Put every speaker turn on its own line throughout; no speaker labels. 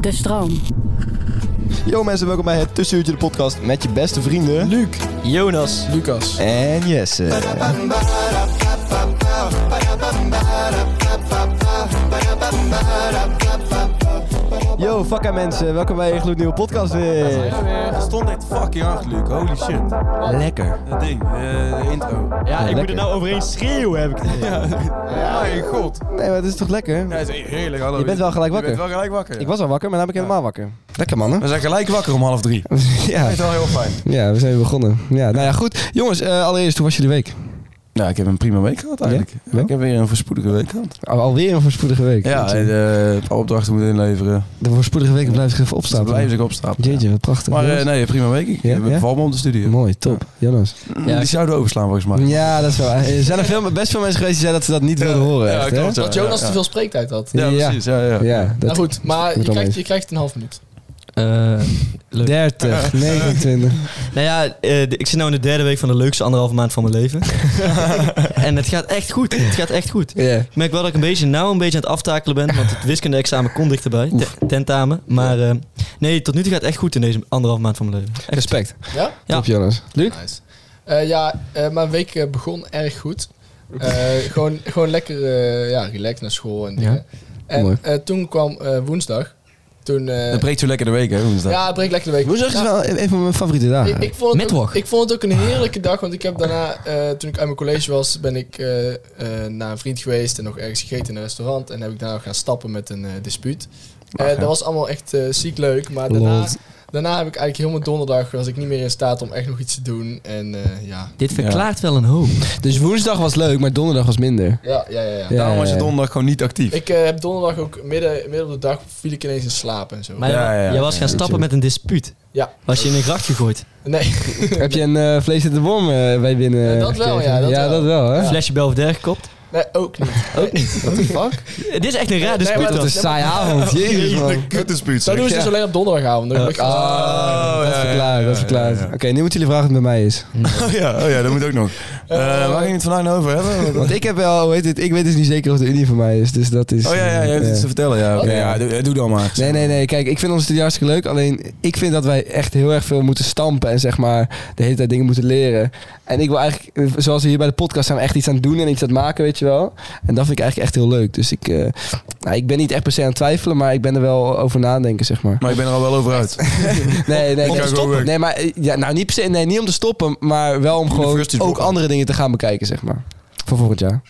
De stroom.
Yo mensen, welkom bij het Tussenuurtje de podcast met je beste vrienden... Luc, Jonas
Lucas.
en Jesse. Yo, fucka mensen, welkom bij een gloednieuwe podcast weer.
Het stond echt fucking hard, Luc. Holy shit.
Lekker.
Dat ding, eh, de intro.
Ja, ik moet er nou
overheen schreeuwen, heb ik het
Ja. Mijn god.
Nee, maar het is toch lekker?
Ja, het is heerlijk, hallo.
Je bent wel gelijk
Je
wakker.
bent wel gelijk wakker.
Ik was al wakker, maar nu ben ik helemaal wakker. Lekker mannen.
We zijn gelijk wakker om half drie. Dat
ja,
is wel heel fijn.
ja, we zijn weer begonnen. Ja, nou ja, goed. Jongens, eh, allereerst, hoe was jullie week?
Ja, ik heb een prima week gehad eigenlijk.
Ja?
Ik heb weer een voorspoedige week gehad.
Al- Alweer een voorspoedige week.
Ja,
Jeetje.
en, eh, een paar opdrachten moeten inleveren.
de voorspoedige week blijft even
Dus dan
opstaan.
blijven ze opstaan.
Jeetje, wat prachtig.
Maar eh,
Jongens,
nee, prima week. Ik
Ja,
ik
ja?
val me op de studio.
Mooi, top. Jonas.
Die zouden overslaan volgens mij.
Ja, dat is wel. Er zijn er veel, best veel mensen geweest die zeiden dat ze dat niet wilden horen.
ja,
echt, hè?
klopt, ja.
Dat Jonas
ja.
te veel spreektijd had.
Ja,
Ja.
precies. Ja, ja.
Ja,
nou
dat
goed, maar
dat
je
wel
krijgt,
eens.
je krijgt een half minuut.
Eh, leuk.
30, 29.
nou ja, eh, de- ik zit nu in de derde week van de leukste anderhalve maand van mijn leven. en het gaat echt goed. Het gaat echt goed.
Ja.
Ik merk wel dat ik een beetje, nou een beetje aan het aftakelen ben, want het wiskunde-examen komt dichterbij, te- tentamen. Maar eh, nee, tot nu toe gaat het echt goed in deze anderhalve maand van mijn leven. Echt.
Respect.
Ja?
Ja.
Top, Jonas. Luc?
Nice. Eh, ja, eh, mijn week eh, begon erg goed. Eh, gewoon, gewoon lekker eh, ja, relaxed naar school en dingen. En
Mooi.
eh, toen kwam eh, woensdag. Toen, eh,
Dat breekt zo lekker de week, hè? woensdag.
ja, het breekt lekker de week.
Woensdag is
Ja,
wel een van mijn favoriete dagen.
ik, ik vond het ook,
Mittwoch.
ik vond het ook een heerlijke dag, want ik heb daarna, eh, toen ik uit mijn college was, ben ik eh, eh, naar een vriend geweest en nog ergens gegeten in een restaurant. En heb ik daarna gaan stappen met een eh, dispuut. Eh, dat was allemaal echt eh, ziek leuk, maar daarna,
Lol.
daarna heb ik eigenlijk helemaal donderdag, was ik niet meer in staat om echt nog iets te doen. En eh, ja.
Dit verklaart wel een hoop.
Dus woensdag was leuk, maar donderdag was minder.
Ja, ja, ja. ja.
Ja.
Daarom was je donderdag gewoon niet actief.
Ik eh, heb donderdag ook midden, midden op de dag viel ik ineens in slaap en zo.
Maar
Ja, ja, ja.
jij was gaan stappen met een dispuut.
Ja.
Was je in een gracht gegooid.
Nee,
Heb je een eh vlees in de worm eh, bij binnen?
Ja, dat wel,
gekregen?
ja, dat
ja,
wel.
dat wel, hè?
Een flesje Belvedere gekopt.
nee, ook niet. Ook niet.
What the fuck?
Eh, Dit is echt een raar
Nee,
dispuut
maar
Dat
dan.
is een saaie avond. Jezus, man.
Dat doen ze dus alleen op donderdagavond. Dan
Ah, dat verklaart, dat verklaart. Oké, nu moeten jullie vragen wat het bij mij is.
Oh ja, oh ja, dat moet ook nog. Eh, waar ging het vandaag nou over hebben?
Want ik heb wel, hoe heet het, ik weet dus niet zeker of de Unie van mij is, dus dat is...
Oh ja, ja, je
eh,
hebt iets te vertellen. Ja, oké, ja doe, doe dan maar.
Nee, nee, nee. Kijk, ik vind onze studie hartstikke leuk. Alleen ik vind dat wij echt heel erg veel moeten stampen en zeg maar de hele tijd dingen moeten leren. En ik wil eigenlijk, eh, zoals we hier bij de podcast zijn, echt iets aan het doen en iets aan het maken, weet je wel. En dat vind ik eigenlijk echt heel leuk. Dus ik, eh, nou, ik ben niet echt per se aan het twijfelen, maar ik ben er wel over nadenken, zeg maar.
Maar ik ben er al wel over uit.
Nee, nee,
Om te
nee.
stoppen?
Nee, maar eh, ja, nou niet per se, nee, niet om te stoppen, maar wel om
de
gewoon
first is
ook
brokken.
andere dingen te gaan bekijken, zeg maar. Voor volgend jaar.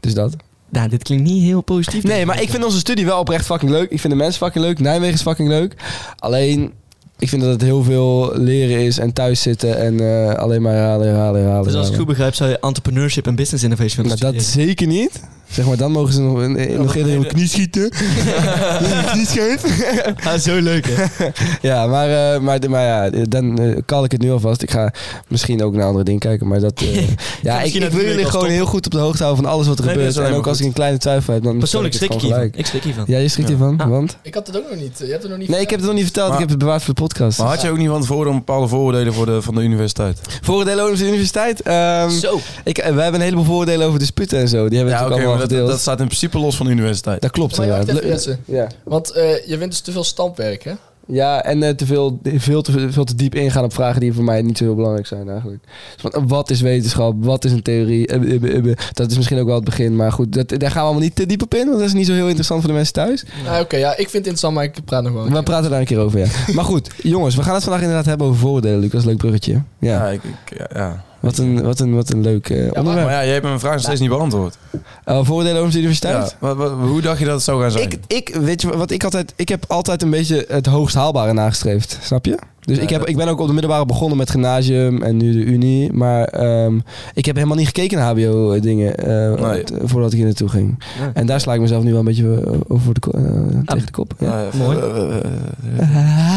Dus dat.
Nou, dit klinkt niet heel positief.
Nee, maar ik vind onze studie wel oprecht fucking leuk. Ik vind de mensen fucking leuk. Nijmegen is fucking leuk. Alleen, ik vind dat het heel veel leren is en thuis zitten en eh, alleen maar herhalen, herhalen, herhalen.
Dus als ik het
herhalen.
goed begrijp, zou je entrepreneurship en business innovation willen
Nou, dat
studeren.
zeker niet. Zeg maar, dan mogen ze nog, een- nog eerder in hun knie schieten. In hun knie scheef.
Ah, zo leuk, hè?
Ja, maar, eh, maar, maar ja, dan eh, kal ik het nu alvast. Ik ga misschien ook naar andere dingen kijken. Maar dat, eh, ja, ik,
misschien
ik
dat
wil
jullie
jullie
wel
gewoon
stoppen.
heel goed op de hoogte houden van alles wat er
Nee, dat is
gebeurt. En
alleen
ook
maar
als ik een kleine twijfel heb, dan
Persoonlijk
stel
stik
ik
ik
het gewoon gelijk.
hiervan. Ik stik hiervan.
Ja, je schrikt hiervan,
Ah.
want...
Ik had het ook nog niet. Je hebt het nog niet
Nee, ik heb het nog niet verteld.
Maar-
ik heb het bewaard voor de podcast.
Maar had je ook niet van tevoren een bepaalde vooroordelen voor de, van de universiteit?
Voordelen over de universiteit. Ehm
Zo.
ik, eh, wij hebben een heleboel voordelen over disputen en zo. Die hebben we natuurlijk allemaal
dat,
gedeeld.
dat staat in principe los van de universiteit.
Dat klopt
Maar je wacht
inderdaad.
even, Jesse.
Ja.
Want eh, je wint dus te veel stampwerk, hè?
Ja, en eh, te veel, veel, te, veel te diep ingaan op vragen die voor mij niet zo heel belangrijk zijn eigenlijk. Dus van, eh, wat is wetenschap? Wat is een theorie? Eh, eh, eh, eh. Dat is misschien ook wel het begin, maar goed, dat, daar gaan we allemaal niet te diep op in, want dat is niet zo heel interessant voor de mensen thuis.
Ah, Oké, ja, ik vind het interessant, maar ik praat nog wel. een
We
keer.
praten daar een keer over, ja. Maar goed, jongens, we gaan het vandaag inderdaad hebben over voordelen, Lucas. Leuk bruggetje. Ja,
Ja, ik, ik- ja, ja.
wat een, wat een, wat een leuk eh,
Maar
onderwerp.
ja, jij hebt mijn vraag nog steeds niet beantwoord.
Eh, voordelen over de universiteit?
Ja. Wat, wat- hoe dacht je dat het zou gaan zijn?
Ik, ik, weet je wat ik altijd. Ik heb altijd een beetje het hoogst haalbare nagestreefd, snap je? Dus
Ja,
ik, heb,
dat-
ik ben ook op de middelbare begonnen met gymnasium en nu de unie. Maar ehm, ik heb helemaal niet gekeken naar HBO-dingen eh,
Nee.
t- voordat ik hier naartoe ging.
Ja.
En daar sla ik mezelf nu wel een beetje eh, over de ko- eh, tegen de kop. Ja,
Eh,
Mooi.
eh, eh, eh,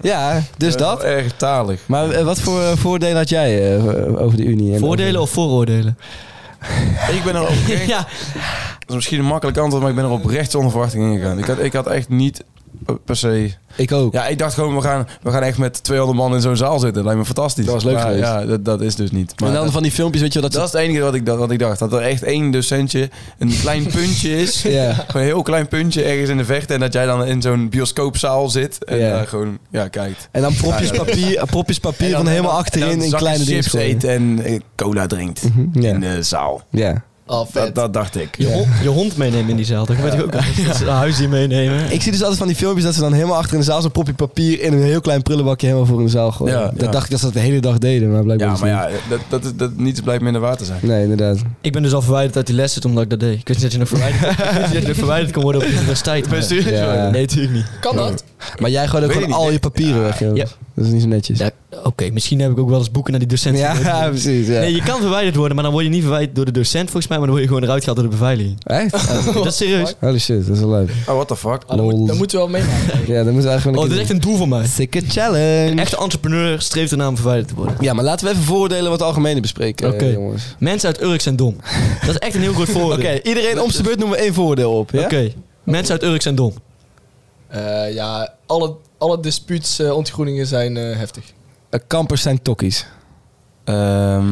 ja dus
eh,
dat.
Erg talig.
Maar eh, wat voor eh, voordelen had jij eh, over de unie? en
Voordelen of vooroordelen?
Ik ben er oprecht
ja,
Dat is misschien een makkelijk antwoord, maar ik ben er oprecht zonder verwachting ingegaan. Ik had, ik had echt niet eh, per se...
Ik ook.
Ja, ik dacht gewoon, we gaan, we gaan echt met 200 man in zo'n zaal zitten. Dat lijkt me fantastisch.
Dat was leuk
Maar
geweest.
Ja, dat, dat is dus niet. Maar
en dan
dat,
van die filmpjes, weet je wel, dat,
dat is het enige wat ik, dacht- wat ik dacht. Dat er echt één docentje een klein puntje is.
ze- Ja.
Gewoon een heel klein puntje ergens in de vechten. En dat jij dan in zo'n bioscoopzaal zit. En
Ja.
daar gewoon, ja, kijkt.
En dan propjes
Ja, ja.
papier, propjes papier
En dan-
van helemaal
en dan- en
achterin
dan
in
zakjes
kleine dingen.
chips eet en eh, cola drinkt.
Mhm, ja.
In eh, de zaal.
Ja.
Oh,
Dat,
vet.
dat dacht ik.
je, hond, je hond meenemen in die zaal. Dat weet ik ook. Ja. Een huisdier meenemen.
Ik zie dus altijd van die filmpjes dat ze dan helemaal achter in de zaal zo'n propje papier in een heel klein prullenbakje helemaal voor in de zaal gooien.
Ja,
dat
ja.
dacht ik dat ze dat de hele dag deden, maar blijkbaar
Ja,
dus
maar ja, dat, dat, is- dat niets blijkt minder waar te zijn.
niet. Nee, inderdaad.
Ik ben dus al verwijderd uit die lessen omdat ik dat deed. Ik wist niet dat je nog verwijderd, ik wist niet dat je nog verwijderd kon worden op de universiteit.
Ben je
maar-
serieus?
Ja.
Johan?
Nee, natuurlijk niet.
Kan dat?
Maar jij gooit ook
Weet ik
gewoon
niet.
al je papieren weg, joh.
ja.
Dat is niet zo netjes.
Ja, Oké, misschien heb ik ook wel eens boeken naar die docent.
Ja,
gegooid.
precies. Ja.
Nee, je kan verwijderd worden, maar dan word je niet verwijderd door de docent volgens mij, maar dan word je gewoon eruit gehaald door de beveiliging.
Echt?
dat is serieus.
Holy shit, dat is wel leuk.
Oh, what the fuck?
Ah, dat, moet-
Lol.
dat moeten we wel meemaken.
Ja, dan moeten we eigenlijk gewoon
Oh,
een
dat is
keer
echt een doel van mij.
doen. Sikke challenge.
Een echte entrepreneur streeft ernaar om verwijderd te worden.
Ja, maar laten we even voordelen wat algemene bespreken, eh,
Oké.
jongens.
Mensen uit Urk zijn dom. Dat is echt een heel groot voordeel.
Oké, iedereen om zijn beurt noemen we één voordeel op, ja?
Oké, mensen uit Urk zijn dom.
Eh, ja, alle, alle disputes, eh, ontgroeningen zijn eh, heftig.
Eh, Kampers zijn tokkies.
Ehm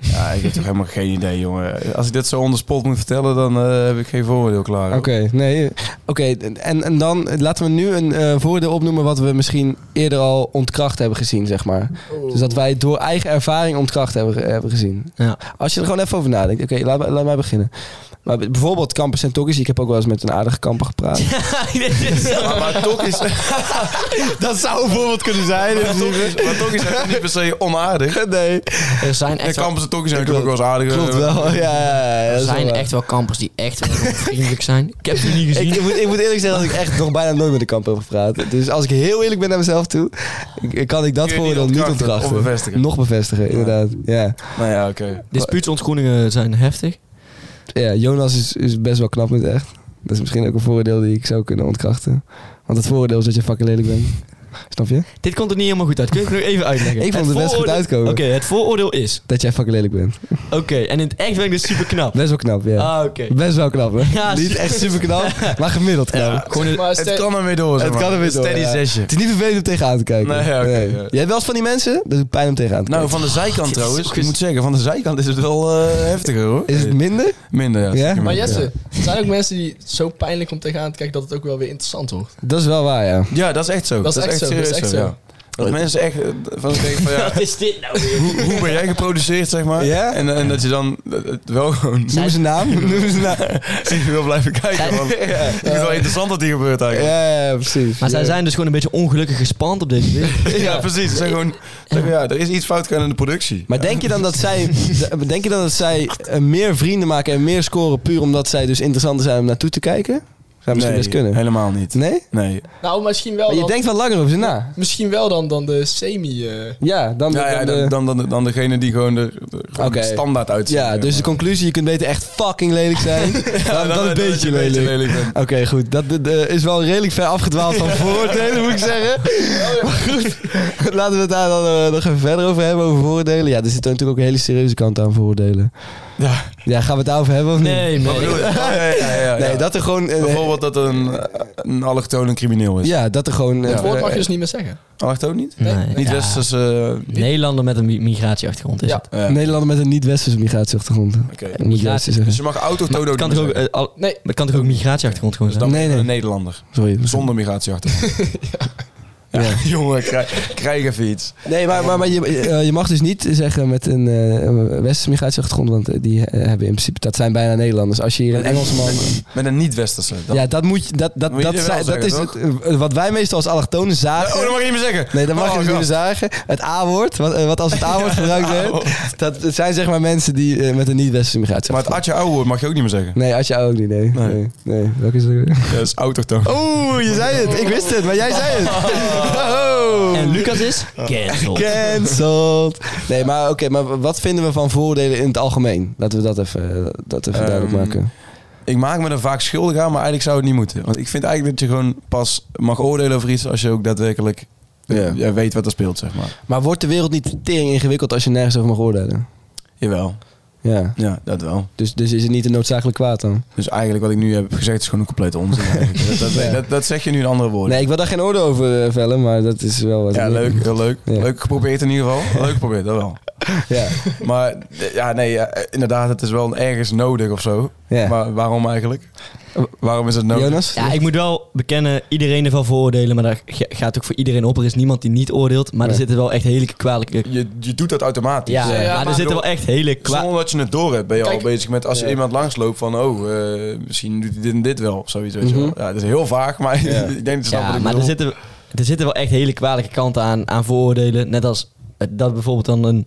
ja, ik heb toch helemaal geen idee, jongen. Als ik dit zo onder spot moet vertellen, dan eh, heb ik geen voordeel klaar. hoor.
Oké, nee. Oké, en, en dan eh, laten we nu een eh, voordeel opnoemen wat we misschien eerder al ontkracht hebben gezien, zeg maar.
Oh.
Dus dat wij het door eigen ervaring ontkracht hebben, eh, hebben gezien.
Ja.
Als je er gewoon even over nadenkt. Oké, laat, laat mij beginnen. Maar b- bijvoorbeeld kampers en tokkies. Ik heb ook wel eens met een aardige kamper gepraat.
Maar, maar toch is het
dat zou een voorbeeld kunnen zijn.
maar toch is het niet per se onaardig.
nee,
Er zijn
De
echt, wel,
kampers en toch zijn natuurlijk ook wel eens aardig.
klopt wel. Ja, ja, ja,
er
dat is wel
zijn
waar.
echt wel kampers die echt wel vriendelijk zijn. Ik heb
Niet gezien.
Ik, ik, moet, ik moet eerlijk zeggen dat ik echt nog bijna nooit met een kamper heb gepraat. Dus als ik heel eerlijk ben naar mezelf toe, ik- kan ik dat
Kun je
voordeel
niet
niet
ontkrachten
ontkrachten.
of bevestigen.
Nog bevestigen, inderdaad. Ja.
Nou ja, oké.
Dispuutsontgroeningen zijn heftig.
Ja, Jonas is, is best wel knap met echt. Dat is misschien ook een voordeel die ik zou kunnen ontkrachten. Want het voordeel is dat je fucking lelijk bent. Snap je?
Dit komt er niet helemaal goed uit. Kun je het nog even uitleggen?
Ik vond het best goed
vooroordeel-
uitkomen.
Oké, het vooroordeel is.
Dat jij fucking lelijk bent.
Oké, en in het echt ben ik dus super knap.
Best wel knap, ja.
Ah, oké.
Best wel knap, hè?
Ja,
niet
super-
echt super knap, maar gemiddeld knap.
Gewoon een-
Maar
Het
stel-
kan er weer door, zeg
Het
maar.
kan er weer door,
Steady
ja.
zesje.
Het is niet vervelend om tegenaan te kijken.
Nee, oké, ja.
Jij hebt wel eens van die mensen? Dat doet pijn om tegenaan te kijken.
Nou, van de zijkant
is
trouwens.
ook
Ik moet zeggen, van de zijkant is het wel eh, heftiger, hoor.
is het minder?
Minder, ja.
Ja?
zeker minder.
Maar Jesse, er zijn ook mensen die het zo pijnlijk om tegenaan te kijken dat het ook wel weer interessant wordt.
Dat is wel waar, ja.
Ja, dat is echt zo.
Dat is echt zo, dat is
serieus
echt
zo,
zo.
ja. Dat mensen echt eh, van denken van ja,
Wat is dit nou weer?
hoe, hoe ben jij geproduceerd, zeg maar?
Ja?
En, en dat je dan eh, het wel gewoon
Noem zijn naam. Noem zijn naam.
Ik wil blijven kijken, want het is wel interessant wat hier gebeurt eigenlijk.
Ja, ja, ja, precies.
Maar zij
Ja.
zijn dus gewoon een beetje ongelukkig gespand op deze wereld.
Ja, precies. Ze zijn gewoon, zeggen, ja, er is iets fout gegaan in de productie.
Maar denk je dan dat zij, d- denk je dan dat zij eh, meer vrienden maken en meer scoren puur omdat zij dus interessanter zijn om naartoe te kijken? Zou misschien best kunnen.
helemaal niet.
Nee?
Nee.
Nou, misschien wel
Maar je
dan,
denkt wel langer over ze na.
misschien wel dan, dan de semi. eh.
Ja, dan...
Ja, ja,
dan de-
dan, eh, dan, dan, dan degene die gewoon de, de- gewoon
Oké.
de standaard uitziet.
ja, dus de conclusie, je kunt beter echt fucking lelijk zijn dan, dan een beetje lelijk.
bent.
Oké, goed. Dat dat, eh, is wel redelijk ver afgedwaald van voordelen, moet ik zeggen. Maar goed, dus laten we het daar dan eh, nog even verder over hebben, over voordelen. Ja, er zit natuurlijk ook een hele serieuze kant aan voordelen.
Ja.
Ja, gaan we het daarover hebben of niet?
Nee,
Wat
nee.
bedoel je? Ja, ja, ja, ja,
Nee,
ja.
dat er gewoon... eh,
Bijvoorbeeld dat een, een allochtone crimineel is.
ja, dat er gewoon... eh,
Het woord mag je
eh,
dus niet meer zeggen.
Allochtoon niet?
Nee.
Nee.
Niet
Ja.
westers... eh, niet-
Nederlander met een mi- migratieachtergrond is
Ja.
het.
Ja.
Nederlander met een niet-westerse migratieachtergrond.
Oké.
Om het juist te zeggen.
Dus je mag
Maar
autochtoon
het
ook
kan
niet
toch ook,
meer
eh, al-
Nee.
maar het kan toch ook migratieachtergrond gewoon
zeggen. Dus
zijn?
dan
Nee, nee.
een Nederlander.
Sorry.
Zonder migratieachtergrond. ja.
Ja.
jongen, krijg, krijg even iets.
Nee, maar, maar, maar je, eh, je mag dus niet zeggen met een eh, een westerse migratieachtergrond, want eh, die eh, hebben in principe, dat zijn bijna Nederlanders. Als je hier een Engelsman...
Met een niet-westerse. dan-
Ja, dat moet je, dat, dat,
Moet je
dat,
wel
zei- dat
zeggen,
is
toch?
het, eh, wat wij meestal als allochtonen zagen.
Oh, dat mag je niet meer zeggen.
Nee, dat mag
Oh,
je dus niet meer
God.
zagen. Het A-woord, wat, eh, wat als het A-woord gebruikt werd, dat, dat zijn zeg maar mensen die eh, met een niet-westerse migratie
Maar het Atje Ouwe mag je ook niet meer zeggen.
Nee, als je ook niet, nee.
Nee.
Nee, nee. welke is het?
Ja, dat is autochtoon.
Oeh, je zei het. Ik wist het, maar jij zei het. Oh.
En Lucas is? Cancelled.
Cancelled. Nee, maar oké, maar wat vinden we van voordelen in het algemeen? Laten we dat even, eh, dat even
Ehm,
duidelijk maken.
Ik maak me er vaak schuldig aan, maar eigenlijk zou het niet moeten. Want ik vind eigenlijk dat je gewoon pas mag oordelen over iets als je ook daadwerkelijk
Ja.
eh, ja, weet wat er speelt, zeg maar.
Maar wordt de wereld niet tering ingewikkeld als je nergens over mag oordelen?
Jawel.
Ja,
Ja, dat wel.
dus, dus is het niet een noodzakelijk kwaad dan?
Dus eigenlijk wat ik nu heb gezegd is gewoon een complete onzin. eigenlijk. dat, dat, dat, dat zeg je nu in andere woorden.
Nee, ik wil daar geen oordeel over eh, vellen, maar dat is wel wat.
ja,
ik-
leuk, heel leuk.
Ja.
Leuk geprobeerd in ieder geval. Leuk geprobeerd, dat wel.
Ja,
Maar eh, ja, nee, ja, eh, inderdaad, het is wel ergens nodig of zo.
ja.
Maar waarom eigenlijk? Waarom is het nodig?
Jonas?
Ja, ik moet wel bekennen, iedereen ervan veroordelen, maar daar ge- gaat ook voor iedereen op. Er is niemand die niet oordeelt, maar er
Nee.
zitten wel echt hele kwalijke...
Je, je doet dat automatisch.
Ja,
Ja, ja,
maar
maar-
er zitten wel echt hele kwalijke...
Zonder dat je het door hebt, ben je
Kijk-
al bezig met als je
Ja.
iemand langsloopt van oh, eh, misschien doet hij dit en dit wel of zoiets. Weet je
Mhm.
wel. Ja, dat is heel vaag, maar
Ja.
ik denk dat je snapt wat
Ja,
ik
maar er
bedoel.
zitten, er zitten wel echt hele kwalijke kanten aan, aan vooroordelen. Net als eh, dat bijvoorbeeld dan een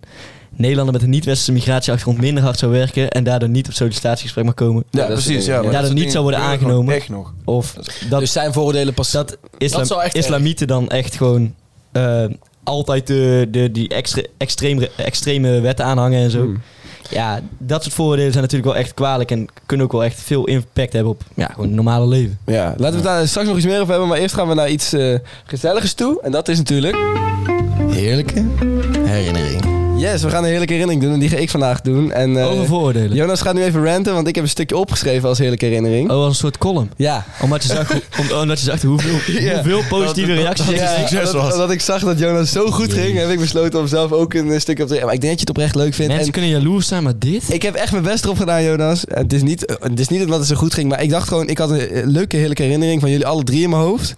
Nederlander met een niet-westerse migratieachtergrond minder hard zou werken en daardoor niet op sollicitatiegesprek mag komen.
Ja,
Ja, dat
precies.
soort
Ja,
dingen.
maar
Ja, dat
soort dingen
niet zou worden
gebeuren gewoon
aangenomen.
Echt nog.
Of dat,
dus zijn voordelen pas
dat, islam,
zou echt
islamieten dan echt gewoon eh, altijd de, de, die extre, extreme, extreme wetten aanhangen en zo.
Hmm.
Ja, dat soort voordelen zijn natuurlijk wel echt kwalijk en kunnen ook wel echt veel impact hebben op ja, gewoon het normale leven.
Ja, laten we het daar straks nog iets meer over hebben, maar eerst gaan we naar iets eh, gezelligers toe. En dat is natuurlijk...
Heerlijke herinnering.
Yes, we gaan een heerlijke herinnering doen en die ga ik vandaag doen. En, eh,
Over vooroordelen.
Jonas gaat nu even ranten, want ik heb een stukje opgeschreven als heerlijke herinnering.
Oh, als een soort column.
Ja.
Omdat je zag, om- omdat je zag hoeveel,
Ja.
hoeveel positieve reacties
dat-
je
dat-
kreeg.
succes
omdat,
was.
omdat ik zag dat Jonas zo goed ging, heb ik besloten om zelf ook een eh, stukje op te... Maar ik denk dat je het oprecht leuk vindt.
Mensen
en-
kunnen jaloers zijn, maar dit?
Ik heb echt mijn best erop gedaan, Jonas. Het is, niet, het is niet omdat het zo goed ging, maar ik dacht gewoon... Ik had een eh, leuke, heerlijke herinnering van jullie alle drie in mijn hoofd.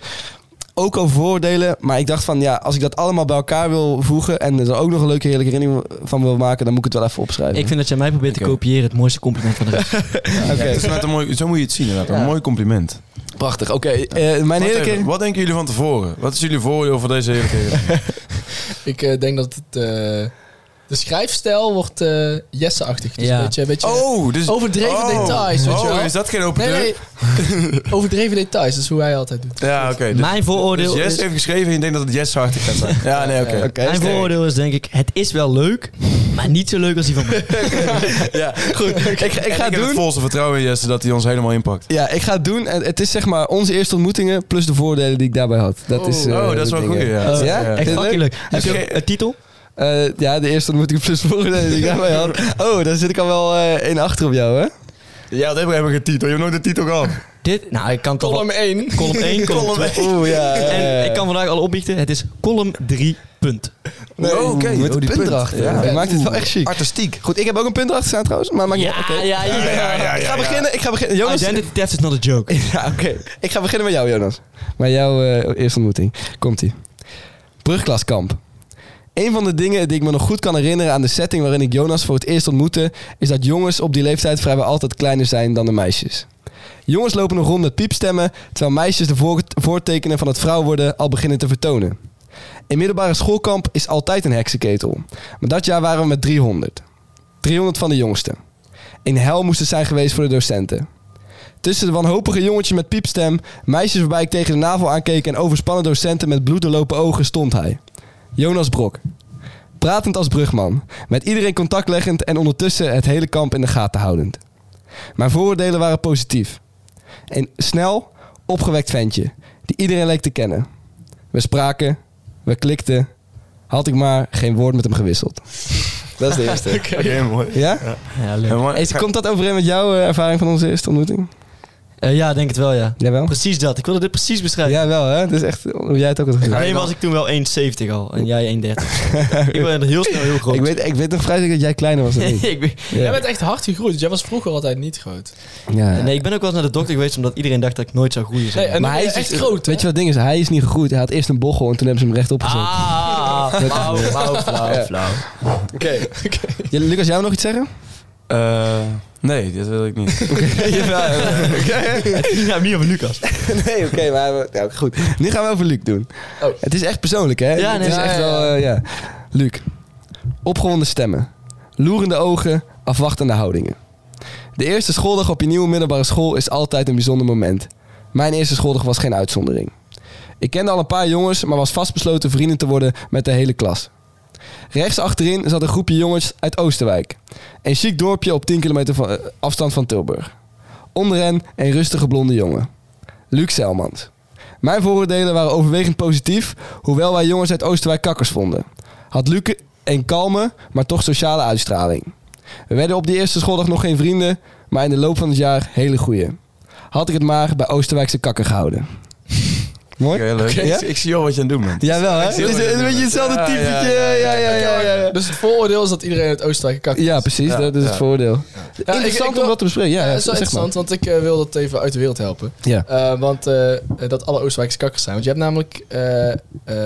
Ook over voordelen, maar ik dacht van... Ja, als ik dat allemaal bij elkaar wil voegen... en er ook nog een leuke, heerlijke herinnering van wil maken... dan moet ik het wel even opschrijven.
Ik vind dat jij mij probeert te
Oké.
kopiëren het mooiste compliment van de rest.
Ja, het is net een mooi, zo moet je het zien inderdaad. Een
Ja.
mooi compliment.
Prachtig. Oké, eh, mijn
Wacht
heerlijke...
even, wat denken jullie van tevoren? Wat is jullie voordeel voor deze heerlijke herinnering?
Ik eh, denk dat het... eh, de schrijfstijl wordt eh, Jesse-achtig. Dus
Ja.
een beetje, een beetje
Oh, dus...
overdreven
oh.
details, weet je wel.
Oh, is dat geen open
Nee,
deur?
nee. Overdreven details, dat is hoe hij altijd doet.
Ja, oké. dus-
Mijn
Dus
vooroordeel,
Jess
is,
heeft geschreven en je denkt dat het Jess hartig gaat zijn. Ja, nee, oké.
Oké,
mijn
sterk.
vooroordeel is denk ik, het is wel leuk, maar niet zo leuk als die van mij.
Ja, goed. Ik, ik
En
ga het
heb het
doen.
volste vertrouwen in Jesse dat hij ons helemaal inpakt.
Ja, ik ga het doen. En het is zeg maar onze eerste ontmoetingen plus de voordelen die ik daarbij had. Dat is, eh,
oh, dat is wel
dingen.
goed. Ja.
Oh, ja?
Ja.
Echt
Vind je
fucking
leuk?
leuk. Heb je
Oké.
ook een titel?
Eh, ja, de eerste ontmoeting plus de voordelen die ik daarbij had. Oh, daar zit ik al wel eh in achter op jou, hè?
Ja, dat hebben we hebben geen titel. Je hebt nooit de titel gehad.
Dit? Nou, ik kan toch wel-
Column 1.
column 1, column 2.
Oeh, ja. ja, ja.
En ik kan vandaag al opbiechten, het is column 3, punt.
Nee,
Oh, oké.
Met
Oh,
een
die
punt
punt.
erachter.
Ja.
Dat maakt het wel echt chic.
Artistiek.
Goed, ik heb ook een punt erachter staan trouwens, maar maakt niet uit. Oké.
ja, ja.
Ik ga beginnen, ik ga beginnen. Jonas...
Identity theft is not a joke.
Ja, oké. Ik ga beginnen met jou, Jonas. Met jouw eh, eerste ontmoeting. Komt-ie. Brugklaskamp. Een van de dingen die ik me nog goed kan herinneren aan de setting waarin ik Jonas voor het eerst ontmoette, is dat jongens op die leeftijd vrijwel altijd kleiner zijn dan de meisjes. Jongens lopen nog rond met piepstemmen, terwijl meisjes de voor- voortekenen van het vrouw worden al beginnen te vertonen. In middelbare schoolkamp is altijd een heksenketel. Maar dat jaar waren we met 300. 300 van de jongsten. In hel moest het zijn geweest voor de docenten. Tussen de wanhopige jongetjes met piepstem, meisjes waarbij ik tegen de navel aankeek en overspannen docenten met bloedelopen ogen stond hij. Jonas Brok. Pratend als brugman, met iedereen contact leggend en ondertussen het hele kamp in de gaten houdend. Mijn vooroordelen waren positief. Een snel, opgewekt ventje, die iedereen leek te kennen. We spraken, we klikten, had ik maar geen woord met hem gewisseld. Dat is de eerste.
Oké, mooi.
Ja?
Ja, leuk.
En maar-
Is, komt dat overeen met jouw eh, ervaring van onze eerste ontmoeting?
Eh, ja, denk het wel, ja.
Jawel.
Precies dat. Ik wilde dit precies beschrijven.
Ja, wel hè? Het is echt hoe jij het ook had gezegd.
Alleen was ik toen wel 1,70 al. En jij 1,30. ik ben heel snel heel groot.
Ik weet, ik weet nog vrij zeker dat jij kleiner was dan ik.
Ik ben-
Jij
Ja.
bent echt hard gegroeid. dus Jij was vroeger altijd niet groot.
Ja.
Nee, ik ben ook wel eens naar de dokter geweest omdat iedereen dacht dat ik nooit zou groeien.
Nee,
Zeg.
en
Maar hij
hij
is
is echt
dus-
groot. hè?
Weet je wat het ding is? Hij is niet gegroeid. Hij had eerst een bochel en toen hebben ze hem rechtop gezet.
Ah, flauw, flauw, flauw,
Ja.
flauw.
Oké.
Ja, Lucas, jij nog iets zeggen?
Eh, nee, dit wil ik niet.
Het ging nou niet over Lucas.
nee, oké, maar we- ja, goed. Nu gaan we over Luc doen.
Oh.
Het is echt persoonlijk, hè?
Ja,
het
nee,
is
ja,
echt
ja, ja.
wel, eh, ja. Luc, opgewonden stemmen, loerende ogen, afwachtende houdingen. De eerste schooldag op je nieuwe middelbare school is altijd een bijzonder moment. Mijn eerste schooldag was geen uitzondering. Ik kende al een paar jongens, maar was vastbesloten vrienden te worden met de hele klas. Rechts achterin zat een groepje jongens uit Oosterwijk. Een chic dorpje op 10 kilometer van, eh, afstand van Tilburg. Onder hen een rustige blonde jongen. Luc Selmans. Mijn vooroordelen waren overwegend positief, hoewel wij jongens uit Oosterwijk kakkers vonden. Had Luc een kalme, maar toch sociale uitstraling. We werden op die eerste schooldag nog geen vrienden, maar in de loop van het jaar hele goeie. Had ik het maar bij Oosterwijkse kakker gehouden. Mooi?
Oké, leuk.
Ja?
Ik, ik zie al wat je aan het doen bent.
Jawel, hè?
Ik
Het
zie
is
wat je
een
bedoelt.
beetje hetzelfde
Ja,
typetje.
ja,
Ja, ja, ja, ja, ja.
Dus het vooroordeel is dat iedereen uit Oostenrijk kakt.
Ja, precies.
Ja,
dat is
ja.
het voordeel.
Ja, ik-
interessant
ik wil-
om dat te bespreken. Ja,
Ja,
ja,
dat is wel
zeg maar.
interessant, want ik eh, wil dat even uit de wereld helpen.
Ja.
Eh, want eh, dat alle Oostenrijkse kakkers zijn. Want je hebt namelijk eh,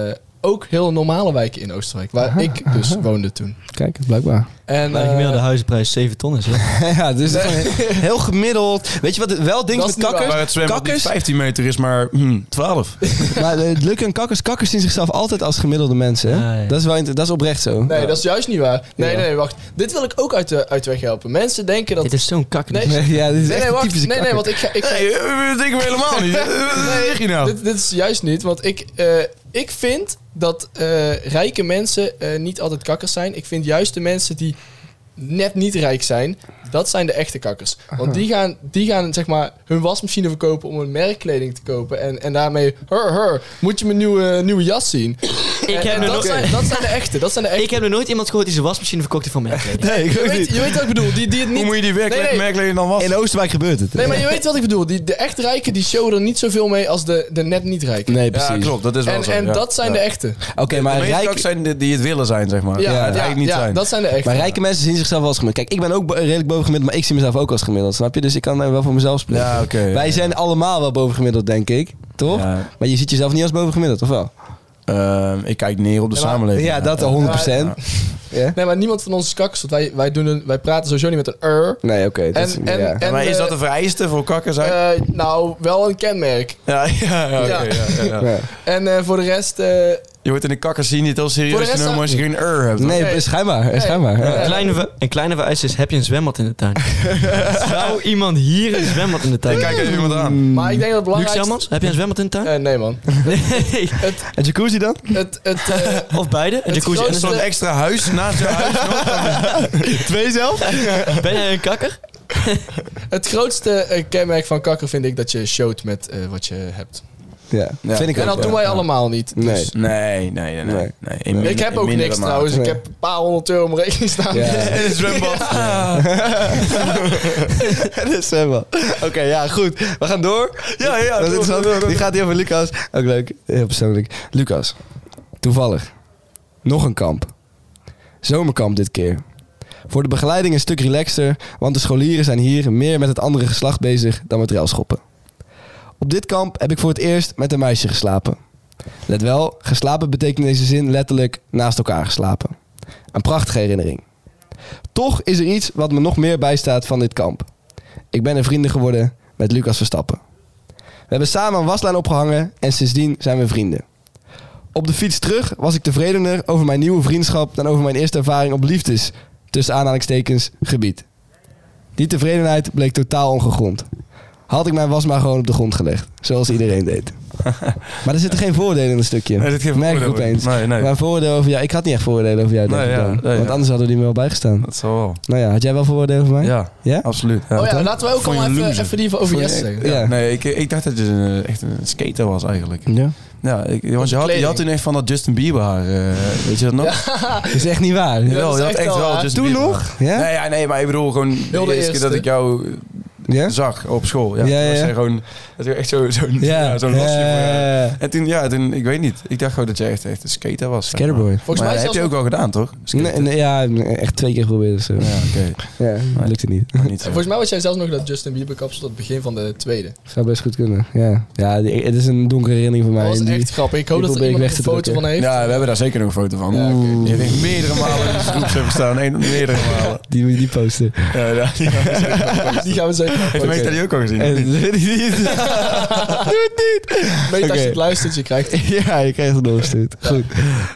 eh, ook heel normale wijken in Oostenrijk. Waar ik dus woonde toen.
Kijk, blijkbaar.
En,
Maar de
eh,
gemiddelde huizenprijs 7 ton is, hè?
ja, dus het is gewoon heel gemiddeld. Weet je wat het wel ding
Dat
is
is
met
niet
kakkers?
Waar het zwembad
Kakkers?
niet 15 meter is, maar hmm, 12.
Maar eh, het lukken en kakkers, kakkers zien zichzelf altijd als gemiddelde mensen. hè?
Ja, ja.
Dat, is wel, inter- dat is oprecht zo.
nee, dat is juist niet waar. Nee,
Ja.
nee, wacht. Dit wil ik ook uit de, uit de weg helpen. Mensen denken dat...
Dit is zo'n kak.
Nee,
Nee, ja, dit is
nee,
echt
nee,
een
wacht.
typische
Nee, nee,
kakker.
want ik ga... Ik ga-
Nee, eh, dat denken we helemaal niet. Nee, zeg je nou?
dit, dit is juist niet, want ik, eh, ik vind dat eh, rijke mensen eh, niet altijd kakkers zijn. Ik vind juist de mensen die net niet rijk zijn, dat zijn de echte kakkers. Want die gaan, die gaan zeg maar hun wasmachine verkopen om hun merkkleding te kopen. En, en daarmee, hur, hur, moet je mijn nieuwe, nieuwe jas zien.
Ik
En-
heb, nog
en dat,
nooit,
zijn, dat zijn de echte, dat zijn de echte.
ik heb nog nooit iemand gehoord die zijn wasmachine verkocht heeft van merkkleding.
Nee, ik
je,
ook
weet,
niet.
je weet wat ik bedoel, die, die het
Hoe
niet...
moet je die werkelijk
Nee, nee.
merkleding dan wassen?
In Oostenrijk gebeurt het.
Nee, maar je weet wat ik bedoel. Die, de echt rijken die showen er niet zoveel mee als de, de net niet rijken.
Nee,
Ja,
precies.
klopt. Dat is wel
En,
zo.
en
ja.
dat zijn
Ja.
de echte.
Oké, maar,
de
rijk,
rijk... zijn de, die het willen zijn, zeg maar.
Ja,
Ja, het
ja,
eigenlijk niet
ja,
zijn.
dat zijn de echte.
maar rijke mensen zien zichzelf wel als gemiddeld. Kijk, ik ben ook bo- redelijk bovengemiddeld, maar ik zie mezelf ook als gemiddeld, snap je? Dus ik kan daar wel voor mezelf spreken.
Ja, oké, ja,
Wij
ja.
zijn allemaal wel bovengemiddeld, denk ik. Toch?
Ja.
Maar je ziet jezelf niet als bovengemiddeld, of wel?
Ehm, ik kijk neer op de
Ja, maar-
samenleving.
Ja, dat 100%. Ja.
Nee, maar niemand van ons is kakkers. Want wij, wij, doen een, wij praten sowieso niet met een er.
Nee, oké. dat
En-
is-
en-
ja.
Ja, maar is dat een vereiste voor kakker zijn?
Eh, nou, wel een kenmerk.
ja, ja, ja, oké, ja, ja, ja.
Ja.
En eh, voor de rest... eh,
Je wordt in de kakker zien niet heel
Voor
serieus
de rest
genomen als je geen ur hebt.
Nee,
Nee.
schijnbaar.
Nee.
schijnbaar ja.
Eh,
Een kleine, ve- een kleine vereiste is, heb je een zwembad in de tuin? Zou iemand hier een zwembad in de tuin
Ik kijk even iemand aan.
Maar ik denk dat het
Luc
belangrijkste...
Selmans, heb je een zwembad in de tuin?
Eh, nee, man.
Nee.
En jacuzzi dan?
Het, het, eh,
Of beide? Een
Een
jacuzzi en
Het
een
grootste-
soort extra huis naast je huis.
Twee zelf?
zwembad. Ben jij een kakker?
het grootste eh, kenmerk van kakker vind ik dat je showt met eh, wat je hebt.
Ja,
Ja.
vind ik
En
ook.
dat doen wij allemaal niet. Dus.
Nee.
Nee, nee, nee. nee,
Nee.
nee. in minder-
Ik heb
in
ook
mindere
niks
mate.
trouwens. Ik
Nee.
heb een paar honderd euro om rekening staan.
Ja.
In een zwembad.
dat is wel. Oké, ja, goed. We gaan door. Ja, ja. Dat is interessant. Die gaat hier over Lucas. Ook leuk. Heel persoonlijk. Lucas, toevallig. Nog een kamp. Zomerkamp dit keer. Voor de begeleiding een stuk relaxter, want de scholieren zijn hier meer met het andere geslacht bezig dan met railschoppen. Op dit kamp heb ik voor het eerst met een meisje geslapen. Let wel, geslapen betekent in deze zin letterlijk naast elkaar geslapen. Een prachtige herinnering. Toch is er iets wat me nog meer bijstaat van dit kamp. Ik ben een vrienden geworden met Lucas Verstappen. We hebben samen een waslijn opgehangen en sindsdien zijn we vrienden. Op de fiets terug was ik tevredener over mijn nieuwe vriendschap dan over mijn eerste ervaring op liefdes, tussen aanhalingstekens, gebied. Die tevredenheid bleek totaal ongegrond. Had ik mijn was maar gewoon op de grond gelegd, zoals iedereen deed. Maar er zitten geen voordelen in een stukje.
Nee, dit geeft
Merk ik
voordeel.
opeens.
Nee, nee.
Maar voordeel over jou, ik had niet echt voordelen over jou, denk
Nee,
ik
ja,
dan.
nee, ja.
Want anders hadden we die me wel bijgestaan.
Dat zal wel.
Nou ja, had jij wel voordelen over mij?
Ja, absoluut. Ja.
Oh ja, laten we ook
Vond je
allemaal
een
even,
loser?
even die van over
Vond je eh,
Jesse
echt-
zeggen.
Ja.
Nee, ik, ik dacht dat je een, echt een skater was eigenlijk.
Ja.
Ja, ik, want je had, je
kleding.
had toen echt van dat Justin Bieber haar. eh, weet je dat nog?
Dat is echt niet waar.
Jawel,
dat is
je had
echt
echt
wel
wel
waar.
Justin
Toen
Bieber.
nog? Ja?
Nee, ja, nee, maar ik bedoel gewoon de,
Heel de
eerste, keer dat
eerste.
ik jou
Ja?
zag op school. Ja,
Ja,
toen was
ja.
jij gewoon, dat je echt zo- zo'n zo
Ja.
ja. zo'n losje. voor-
Eh,
En toen, ja, toen, ik weet niet. Ik dacht gewoon dat jij echt, echt een skater was. zeg maar.
Scatterboy.
Volgens
Maar
mij
ja, heb
zelfs
je ook wel gedaan, toch?
Nee,
Skaten.
nee, ja, echt twee keer geprobeerd. Dus, eh,
Ja, oké.
ja,
Nee.
lukt het niet.
Maar niet, eh,
Volgens mij was jij zelfs nog dat Justin Bieber kapsel tot het begin van de tweede.
Zou best goed kunnen. Ja, ja die- het is een donkere herinnering voor mij.
Dat was
en die-
echt grappig. Ik hoop
die
dat er
probeer ik weg
iemand een
te
foto
drukken.
van heeft.
Ja, we hebben daar zeker nog een foto van.
Ja, oké.
Oeh. Je hebt echt meerdere malen in de groepsapp gestaan. Een, meerdere malen.
Die moet je niet posten.
Ja, ja, die gaan we zeker nog posten.
Die gaan we zeker
Heeft Meta die ook al gezien?
En-
Weet als
Oké.
je het luistert, je krijgt
ja, je krijgt het doorgestuurd. Goed.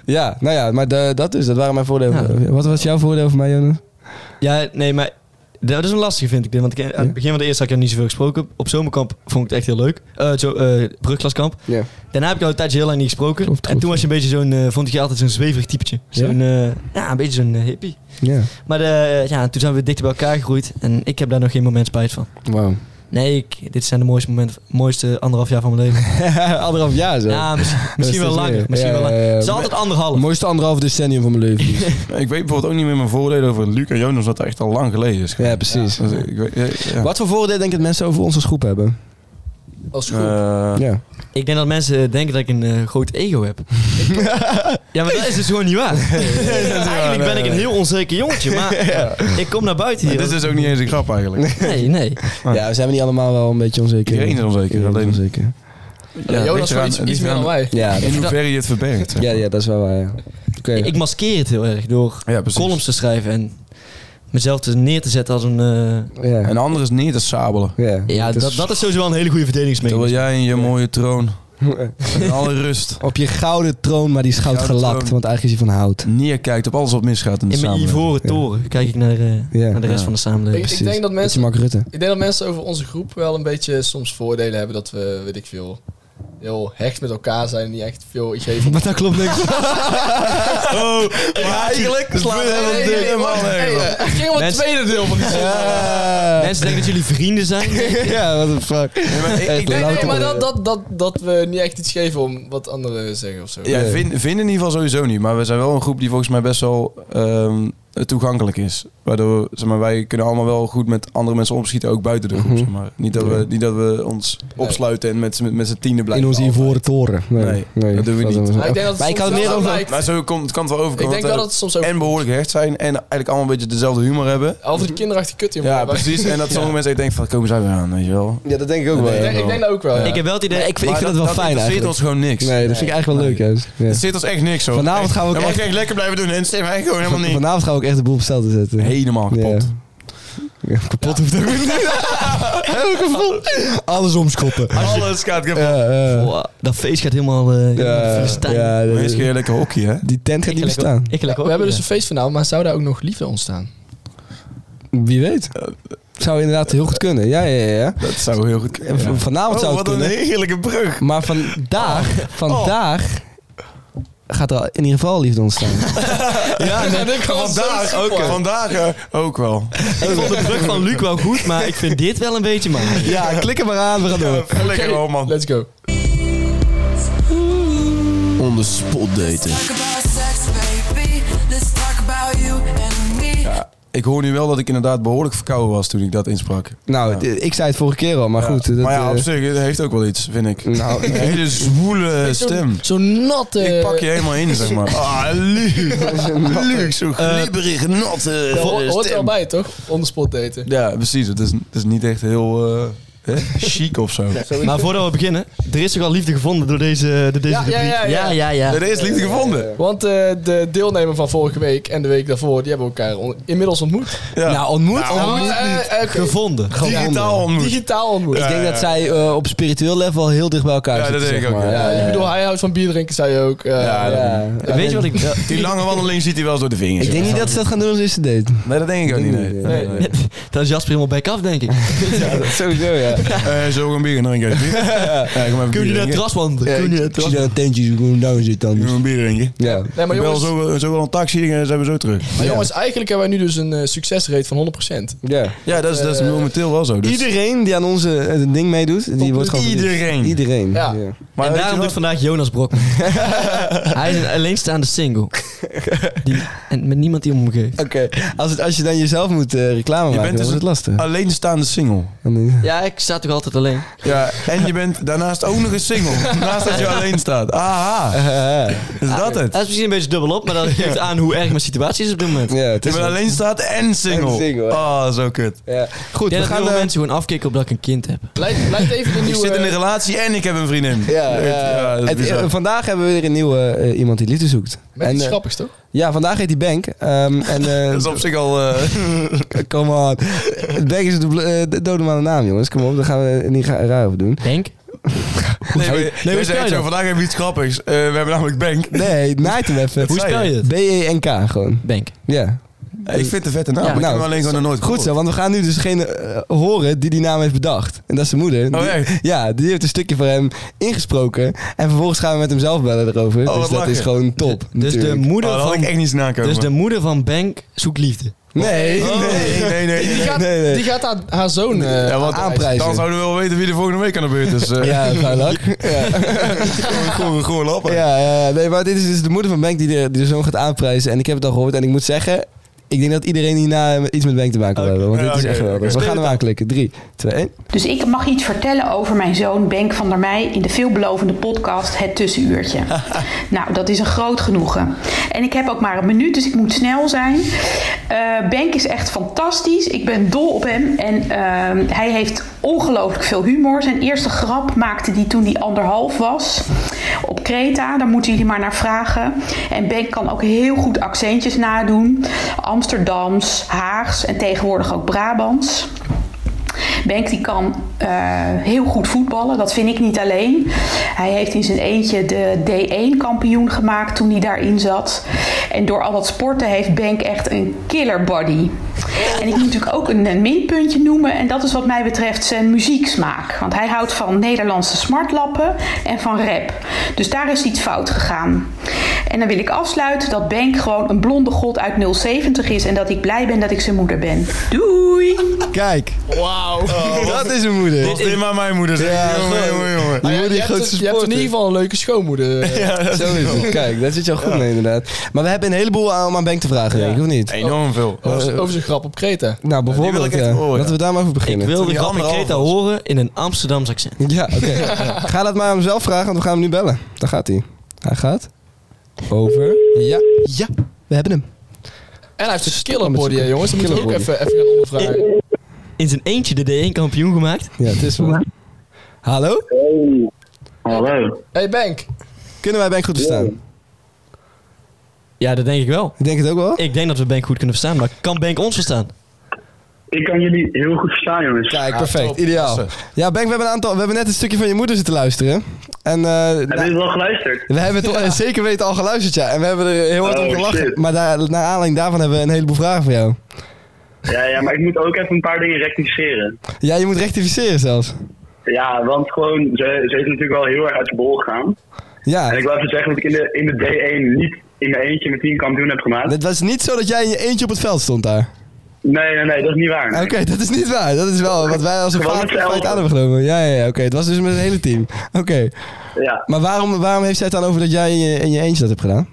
Ja, nou ja, maar de- dat dus. Dat waren mijn voordelen. Wat was jouw voordeel voor mij, Jonas?
Ja, nee, maar dat is een lastige vind ik dit. Want ik, aan
Ja.
het begin van de eerste had ik er niet zoveel gesproken. Op zomerkamp vond ik het echt heel leuk. Eh zo, eh, brugklaskamp.
Ja.
Daarna heb ik al een tijdje heel lang niet gesproken.
Klopt,
en
klopt,
toen was je een beetje zo'n, eh, vond ik je altijd zo'n zweverig typetje.
Ja?
Zo'n, eh, ja, een beetje zo'n eh, hippie.
Ja.
Maar de, ja, toen zijn we dichter bij elkaar gegroeid. En ik heb daar nog geen moment spijt van.
Wauw.
Nee, ik, dit zijn de mooiste momenten, mooiste anderhalf jaar van mijn leven.
Anderhalf jaar zo.
Ja, misschien, misschien wel langer. Misschien wel langer. Het is altijd anderhalf.
mooiste anderhalf decennium van mijn leven.
Ik weet bijvoorbeeld ook niet meer mijn voordelen over Luc en Jonas, wat echt al lang geleden is.
ja, precies.
Dus ik weet- ja, ja.
Wat voor voordeel denk je dat mensen over ons als groep hebben?
als groep.
Eh,
Ja.
Ik denk dat mensen denken dat ik een eh, groot ego heb. ja, maar dat is dus gewoon niet waar. Eigenlijk ben ik een heel onzeker jongetje, maar ik kom naar buiten
maar
hier.
Dit is dus ook niet eens een grap eigenlijk.
Nee, nee.
Ja, zijn we niet allemaal wel een beetje onzeker?
Iedereen is onzeker,
Iedereen
alleen-
onzeker.
Ja, Jonas
ligt
is
eraan-
iets, iets
ligt
meer dan
eraan
wij.
Ja,
In hoeverre je het verbergt. zeg
ja,
maar.
ja, dat is wel waar, ja. Oké.
Ik maskeer het heel erg door
ja, precies.
columns te schrijven en mezelf te neer te zetten als een... eh,
Ja.
En anders niet te sabelen.
Ja,
ja,
het is-
dat, dat is sowieso wel een hele goede
Terwijl
verdedigingsmechanisme.
jij in je mooie troon, in alle rust,
Op je gouden troon, maar die is goud
Gouden
gelakt,
troon.
want eigenlijk is hij van hout.
neerkijkt op alles wat misgaat in de
In mijn
samenleving.
ivoren toren kijk ik naar, eh,
Ja.
naar de rest
Ja.
van de samenleving.
Ik, ik denk dat
Beetje
mensen
Mark Rutte.
Ik denk dat mensen over onze groep wel een beetje soms voordelen hebben dat we, weet ik veel, heel hecht met elkaar zijn en niet echt veel iets geven.
Maar dat klopt niks.
Oh, maar eigenlijk slaan we helemaal
Nee, nee, nee, wacht, hey, eh, Het ging om het
Mensen-
tweede deel van die zin.
Mensen denken dat jullie vrienden zijn.
ja, wat een fuck.
ik
Nee,
denk...
nee,
Louter-
maar dat, dat, dat, dat we niet echt iets geven om wat anderen zeggen of zo.
Ja,
Eh.
vind, vind in ieder geval sowieso niet. Maar we zijn wel een groep die volgens mij best wel ehm, toegankelijk is. Waardoor zeg maar, wij kunnen allemaal wel goed met andere mensen omschieten, ook buiten de groep.
Mhm.
zeg maar. niet, dat
Ja.
we, niet dat we ons opsluiten en met, z'n- met z'n tienen
In
blijven.
onze
altijd.
ivoren toren. Nee,
Nee, dat doen we niet.
is-
Maar ik denk dat het
Maar ik had
soms
het meer
wel
over-
lijkt.
Maar zo komt, kan het wel
Ik
overkomen. dat
denk wel
we
dat het soms over,
En behoorlijk hecht zijn en eigenlijk allemaal een beetje dezelfde humor hebben.
over de kinderachtige kut
Ja, precies. En dat sommige mensen echt denken van, komen zij weer aan, weet je wel.
Ja, dat denk ik ook
Ik denk, ik denk dat ook wel. Ja.
Ik heb wel het idee...
Ik vind, ik vind
Maar
het wel
dat
fijn
interesseert
eigenlijk.
ons gewoon niks.
Nee, dat vind ik eigenlijk wel leuk juist. Ja.
Het zit ons echt niks hoor.
Vanavond gaan we
Dan
ook
mag je
echt,
echt lekker blijven doen en het zit mij gewoon helemaal niet.
vanavond gaan we ook echt de boel op stel te zetten.
Helemaal kapot.
Ja. Ja, kapot hoeft ook niet. Helemaal kapot. Alles omskoppen.
Alles gaat kapot.
Ja, ja.
Wow, Oh, ah, dat feest gaat helemaal... eh
Ja,
Filistijn.
ja, dat-
Maar Eens keer lekker hockey, hè?
die tent gaat
Ik
niet
leg ook-
bestaan.
Ik leg ook.
we hebben
hier.
dus een feest vanavond, maar zou daar ook nog liefde ontstaan?
Wie weet. Zou inderdaad heel goed kunnen. Ja, ja, ja. ja.
Dat zou heel goed kunnen.
En v- Vanavond
Oh,
zou het
wat een Oh.
kunnen.
heerlijke brug.
Maar vandaag, vandaag gaat er in ieder geval liefde ontstaan.
Ja, dat ik
Vandaag ook, wel. vandaag eh, ook wel.
Ik vond de druk van Luc wel goed, maar ik vind dit wel een beetje maar.
ja, klik er maar aan, we gaan
Ja, lekker hoor, Oh, man.
Let's go.
On the spot daten.
Ik hoor nu wel dat ik inderdaad behoorlijk verkouden was toen ik dat insprak.
Nou, d- ik zei het vorige keer al, maar
Ja.
goed. Dat,
maar ja, op
eh,
zich, het heeft ook wel iets, vind ik.
Nou,
Een hele zwoele stem.
Zo'n natte...
Ik pak je helemaal in, zeg maar. Ah, lief. Luc, zo glibberig, natte
Dat ho-
eh,
hoort er wel
stem.
bij, toch? On the spot daten.
Ja, precies. Het is, het is niet echt heel eh, hè, chic of zo.
Maar voordat we beginnen, er is toch al liefde gevonden door deze, door deze
Ja, ja,
rubriek.
ja, ja.
Er is liefde gevonden.
Want eh, de deelnemer van vorige week en de week daarvoor, die hebben elkaar on- inmiddels ontmoet.
Ja. Nou,
Nou, ontmoet.
Oh,
Nou, eh, eh, oké.
Gevonden.
Digitaal ontmoet.
Digitaal ontmoet.
ik denk dat zij eh, op spiritueel level al heel dicht bij elkaar
Ja,
zitten.
dat denk
zeg
ik ook,
maar.
Ja, ik bedoel, hij houdt van bier drinken, zei je ook. eh,
Ja, dat-
Ja.
Weet je wat ik...
Die lange wandeling ziet hij wel eens door de vingers.
Ik denk niet dat ze dat gaan doen als eerste date.
Nee, dat denk ik ook niet. Nee.
Nee,
nee.
Nee, nee.
Daar is Jasper helemaal back af, denk ik.
Sowieso, ja.
Eh, zo gaan bier drinken. alsjeblieft? Ja, kom even
Kun je
bier
naar
drinken.
terras, man?
Ja,
Kun je naar
ik zie
terras?
daar een tentje gewoon down zit
Kun je
dan.
een bier drinken?
Ja.
Nee, maar
Ik bel
jongens,
zo, eh, zo wel een taxi en zijn we zo terug.
maar jongens, eigenlijk hebben wij nu dus een eh, succesrate van 100%.
ja.
Ja, dat is, dat is
Eh,
momenteel wel zo. Dus.
Iedereen die aan onze eh, ding meedoet, die wordt gewoon verdiend.
Iedereen.
Iedereen.
Ja.
Maar
en
weet je
daarom
wat?
doet vandaag Jonas Brokman. Hij is een alleenstaande single. Die, en met niemand die om hem geeft.
Oké, als, het- als je dan jezelf moet eh, reclame
Je
maken,
bent
dan
dus
is het lastig.
alleenstaande single.
Ja, ik sta toch altijd alleen.
Ja, en je bent daarnaast ook nog eens single. Naast dat je alleen staat. Aha,
Ja,
is dat het?
Dat is misschien een beetje dubbel op, maar dat geeft aan hoe erg mijn situatie is op dit moment.
ja, het
Je
is
bent
wel-
alleen staat en single.
En single, hè?
Oh, zo kut.
Ja.
Goed,
Goed,
ik
we
denk dat
gaan...
veel
eh,
mensen gewoon afkicken op dat ik een kind heb.
Blijf, blijf even de
Ik
nieuwe... eh,
zit in een relatie en ik heb een vriendin.
ja, eh,
dat is
het-
bizar.
eh, vandaag hebben we weer een nieuwe eh, iemand die liefde zoekt.
Met
En,
iets
eh,
grappigs, toch?
ja, vandaag heet die Bank. Ehm, en, eh,
dat is op zich al... eh,
Come on. Bank is de, bl- eh, de dode man naam, jongens. Kom op, daar gaan we niet ra- raar over doen.
Denk?
nee, maar,
hoe
jij
spel je
zegt zo,
dat?
vandaag hebben we iets grappigs. Eh, we hebben namelijk Bank.
Nee, naait hem even.
Hoe
zei
spel je het?
B-E-N-K gewoon.
Denk.
Ja.
Eh, ik vind het een vette naam,
Ja,
maar ik
nou,
heb hem alleen gewoon nog nooit
Goed zo, want we gaan nu dus degene eh, horen die die naam heeft bedacht. En dat is zijn moeder.
Oh,
Die-
echt?
ja, die heeft een stukje van hem ingesproken. En vervolgens gaan we met hem zelf bellen erover.
wat
dus dat
lachen.
is gewoon top.
Dus de,
natuurlijk.
moeder
Oh, dat had ik
van,
echt niet zien aankomen.
dus de moeder van Bank zoekt liefde.
Nee,
Oh,
nee.
nee, nee, nee.
Die gaat,
nee, nee.
Die gaat haar, haar zoon eh,
Ja, want
aanprijzen.
Dan zouden we wel weten wie er volgende week aan de beurt is. eh.
Ja, vuil lak. Ja.
Gewoon- Gewoon gewoon lappen.
Ja, ja, ja. nee, maar dit is dus de moeder van Bank die de, die de zoon gaat aanprijzen. En ik heb het al gehoord. En ik moet zeggen, ik denk dat iedereen hierna iets met Bank te maken wil hebben. Want
Ja,
dit is
oké,
echt
oké.
geweldig. Dus we gaan hem aanklikken. 3, 2, 1.
Dus ik mag iets vertellen over mijn zoon Benk van der Meij in de veelbelovende podcast Het Tussenuurtje. nou, dat is een groot genoegen. En ik heb ook maar een minuut, dus ik moet snel zijn. Eh, Benk is echt fantastisch. Ik ben dol op hem. En ehm, hij heeft ongelooflijk veel humor. Zijn eerste grap maakte hij toen hij anderhalf was. Op Kreta, daar moeten jullie maar naar vragen. En Benk kan ook heel goed accentjes nadoen. Amsterdams, Haags en tegenwoordig ook Brabants. Benk die kan eh, heel goed voetballen, dat vind ik niet alleen. Hij heeft in zijn eentje de D1-kampioen gemaakt toen hij daarin zat. En door al dat sporten heeft Benk echt een killer body. En ik moet natuurlijk ook een, een minpuntje noemen en dat is wat mij betreft zijn muzieksmaak. Want hij houdt van Nederlandse smartlappen en van rap. Dus daar is iets fout gegaan. En dan wil ik afsluiten dat Benk gewoon een blonde god uit 070 is en dat ik blij ben dat ik zijn moeder ben. Doei!
Kijk,
Wauw.
dat is een moeder.
Was dit maar mijn moeder zeg.
Ja,
jongen,
gewoon.
jongen, jongen.
Die
Maar
moeder die
je, hebt
grootste
het- je hebt in
supporter.
ieder geval een leuke schoonmoeder. eh,
Ja, dat
Zo is het. Kijk, daar zit je al goed mee inderdaad. Maar we hebben een heleboel aan, om aan Bank te vragen, denk ik, of niet?
Enorm
Oh,
veel.
eh,
Over, over zijn grap op Kreta.
Nou,
wil
bijvoorbeeld,
ik echt
ja.
horen.
laten we daar maar over
Ik
beginnen.
wil
Toen
de
die
grap in
anderhalf
Kreta
was.
horen in een Amsterdams accent.
Ja, oké. Ga dat maar aan hem zelf vragen, want we gaan hem nu bellen. Daar gaat hij. Hij gaat over. Ja, ja, we hebben hem.
En hij heeft een
maar
killer
met
body, hè,
zoeken.
jongens. Dat moet je ook
Killer body.
even, even gaan ondervragen.
In zijn eentje de D1 kampioen gemaakt.
Ja, het is wel. Hallo?
Hallo.
Hey Bank,
Kunnen wij Bank goed verstaan?
Ja, dat denk ik wel.
Ik denk het ook wel.
Ik denk dat we Bank goed kunnen verstaan, maar kan Bank ons verstaan?
Ik kan jullie heel goed verstaan, jongens.
Kijk, perfect. Ideaal.
Klasse.
Ja, Bank, we hebben, een aantal, we hebben net een stukje van je moeder zitten luisteren. En eh,
Hebben
nou,
jullie wel geluisterd?
we hebben het al- zeker weten al geluisterd, ja. En we hebben er heel hard
Oh,
om gelachen.
shit.
Maar daar, naar aanleiding daarvan hebben we een heleboel vragen voor jou.
Ja, ja, maar ik moet ook even een paar dingen rectificeren.
Ja, je moet rectificeren zelfs.
Ja, want gewoon, ze, ze is natuurlijk wel heel erg uit de bol gegaan. En ik
Ja,
wil even zeggen dat ik in de, in de D1 niet in mijn eentje mijn team kampioen heb gemaakt.
het was niet zo dat jij in je eentje op het veld stond daar.
Nee, nee, nee, dat is niet waar.
Oké, dat is niet waar. Dat is wel wat wij als een
Gewoon
vaak
met z'n
feit aan
elfen.
hebben genomen. Ja, ja, ja oké. Het was dus met het hele team. Oké.
Ja.
Maar waarom, waarom heeft zij het dan over dat jij in je, in je eentje dat hebt gedaan?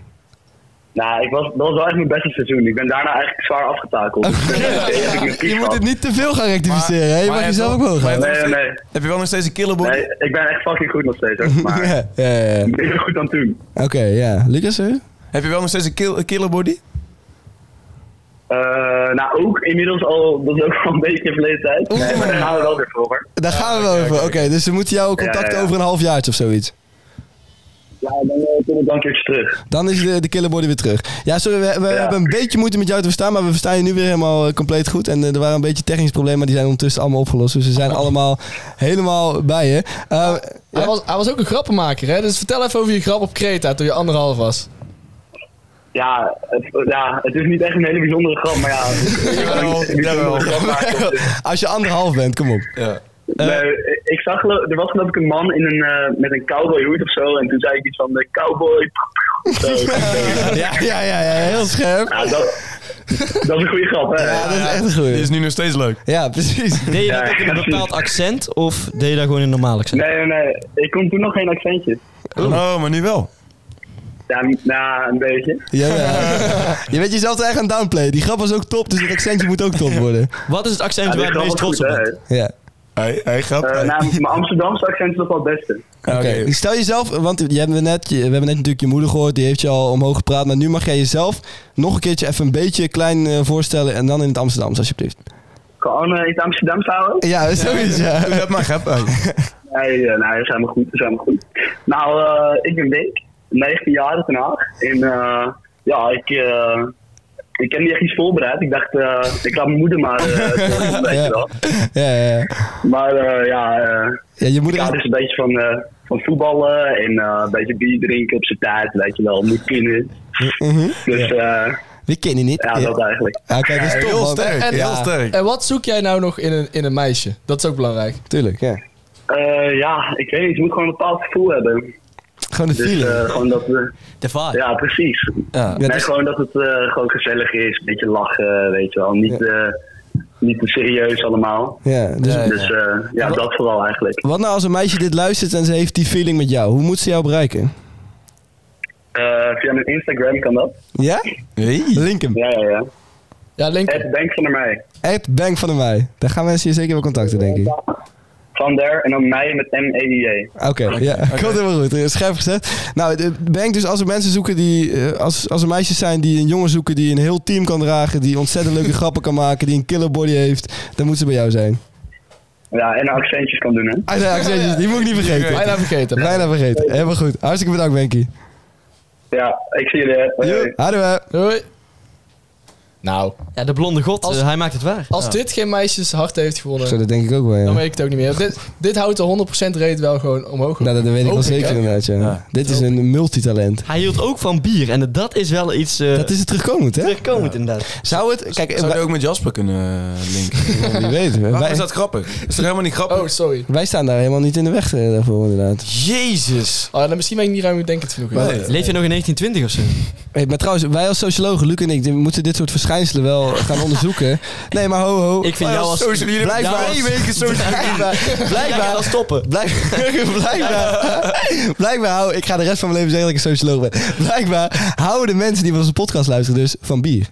Nou, ik was, dat was wel echt mijn beste seizoen. Ik ben daarna eigenlijk zwaar afgetakeld. Nee, heb ik mijn piek
Je moet
gehad.
het niet te veel gaan rectificeren. hè? Je
Maar-
mag
maar
jezelf ook
hebt
wel
wel-
gaan.
maar
Nee, nee, nee.
Heb je wel nog steeds een killerboy?
Nee, ik ben echt fucking goed nog steeds, hoor. maar
Ja, ja, ja, ja.
minder goed dan toen.
Oké, ja. Lucas, hè?
Heb je wel nog steeds een kill, killerbody?
Eh, nou, ook inmiddels al, dat is ook wel een beetje verleden tijd. Nee, maar daar gaan we wel weer voor, hoor.
Daar gaan we wel over. Oké, dus ze moeten jou contacten
ja, ja.
over een half jaartje of zoiets.
Ja, dan eh, kom ik dan een keertje terug.
Dan is de, de killerbody weer terug. Ja, sorry, we, we
Ja.
hebben een beetje moeite met jou te verstaan, maar we verstaan je nu weer helemaal eh, compleet goed. En eh, er waren een beetje technische problemen, maar die zijn ondertussen allemaal opgelost. Dus we
Oh.
zijn allemaal helemaal bij je.
Ah,
Eh,
hij, was, hij was ook een grappenmaker, hè? Dus vertel even over je grap op Kreta toen je anderhalf was.
Ja het, ja, het is niet echt een hele bijzondere grap, maar ja. ik- ik kan
Jawel,
niet- niet
jawel.
een grap maken.
als je anderhalf bent, kom op.
Ja.
Nee, ik zag, gelo- er was geloof ik een man in een, eh, met een cowboyhoed of zo. En toen zei ik iets van de cowboy. Zo.
Ja, ja, ja, ja, heel scherp.
Nou, dat, dat is een goede grap, hè?
Ja, dat is
dus
echt een
Dit
goeie.
is nu nog steeds leuk.
Ja, precies.
Deed je dat
Ja,
met een
precies.
bepaald accent of deed je dat gewoon in een normaal accent?
Nee, nee, nee. Ik kon toen nog geen accentje.
Oh, maar nu wel.
Ja, nou, een beetje.
Ja, ja. Je bent jezelf te erg aan downplay. Die grap was ook top, dus dat accentje moet ook top worden.
Wat is het accent
Ja, die
waar je
grap
het meest
was
trots
goed,
op
hè?
bent?
Ja.
Hey, hey, grap.
Eh,
Hey.
nou, mijn Amsterdamse accent is nog wel het beste.
Oké, stel jezelf, want je hebt net, je- we hebben net natuurlijk je moeder gehoord, die heeft je al omhoog gepraat. Maar nu mag jij jezelf nog een keertje even een beetje klein eh, voorstellen en dan in het Amsterdams alsjeblieft.
Gewoon eh, iets Amsterdams houden.
Ja, zoiets ja.
Doe dat maar, grap. Hey.
Nee, eh, nou, we zijn maar goed, we zijn maar goed. Nou, eh, ik ben Dick, 19 jaar uit Den Haag. En eh, ja, ik, eh, ik heb niet echt iets voorbereid. Ik dacht, eh, ik laat mijn moeder maar eh, doen, weet je wel.
Ja, ja, ja.
Maar eh, ja, eh,
ja je
ik
moeder
hou
is...
dus een beetje van, eh, van voetballen en eh, een beetje bier drinken op zijn tijd, weet je wel. Moet kunnen.
Mhm.
Dus eh,
We kennen niet.
ja, dat eigenlijk.
Ja, kijk, dat is top,
Heel
man.
sterk,
En-
heel
ja.
sterk.
En wat zoek jij nou nog in een, in een meisje? Dat is ook belangrijk.
Tuurlijk, ja.
Eh, ja, ik weet niet, je moet gewoon een bepaald gevoel hebben.
Gewoon de
Dus
feeling.
eh, gewoon dat we...
De vaart.
Ja, precies.
ja, dus-
nee,
dat is-
gewoon dat het eh, gewoon gezellig is. Een beetje lachen, weet je wel. Niet, eh, niet te serieus allemaal.
ja, dus,
Dus eh, ja, dat vooral eigenlijk.
Wat nou als een meisje dit luistert en ze heeft die feeling met jou? Hoe moet ze jou bereiken?
Eh, via mijn Instagram kan dat.
Ja? Link hem.
Ja, ja, ja.
Ja, Lincoln.
Het Bank van der Meij.
Echt bang van de mij. Daar gaan mensen je zeker wel contacten, denk ik.
Van der en dan Meij met E M-E-I-J.
Oké, ja. Komt helemaal goed. Eh, Scherp gezet. Nou, de bank dus als er mensen zoeken die... eh, Als, als er meisjes zijn die een jongen zoeken die een heel team kan dragen... die ontzettend leuke grappen kan maken, die een killer body heeft... dan moeten ze bij jou zijn.
Ja, en accentjes kan doen, hè.
Ah, nee, accentjes, die moet ik niet vergeten.
Bijna vergeten.
Bijna vergeten. Helemaal goed. Hartstikke bedankt, Benky.
Ja, ik zie jullie. hè. Hoi, hoi.
Hadden we.
Doei. Nou,
Ja, de blonde god,
Als-
eh, hij maakt het waar.
als dit geen meisjes hart heeft gewonnen,
Zo, dat denk ik ook wel, ja.
dan weet ik het ook niet meer. Dit, dit houdt de 100% rate wel gewoon omhoog.
Nou, dat dat weet ik wel
Hoop ik,
zeker
hè?
inderdaad, ja.
Ja.
Dit is een multitalent.
Hij hield ook van bier en dat is wel iets eh
Dat is het terugkomend, hè?
terugkomend inderdaad.
Zou het... Kijk,
Zou je
wij,
ook met Jasper kunnen eh, linken?
wie weet.
Waarom
Wij,
is dat grappig? Is toch helemaal niet grappig?
Oh, sorry.
wij staan daar helemaal niet in de weg eh, daarvoor, inderdaad.
Jezus.
Oh, dan misschien ben ik niet ruimdenkend genoeg.
Nee.
inderdaad.
Leef je nog in 1920 of zo?
Hey, maar trouwens, wij als sociologen, Luc en ik, die moeten dit soort verschijnselen wel gaan onderzoeken. Nee, maar ho, ho.
Ik vind jou als...
Social, jullie hebben
Blijkbaar
twee
als-
weken social.
Blijkbaar,
Blijkbaar
blijkbaar,
als stoppen.
blijkbaar, blijkbaar, blijkbaar hou, ik ga de rest van mijn leven zeggen dat ik een socioloog ben. Blijkbaar houden de mensen die van onze podcast luisteren dus van bier.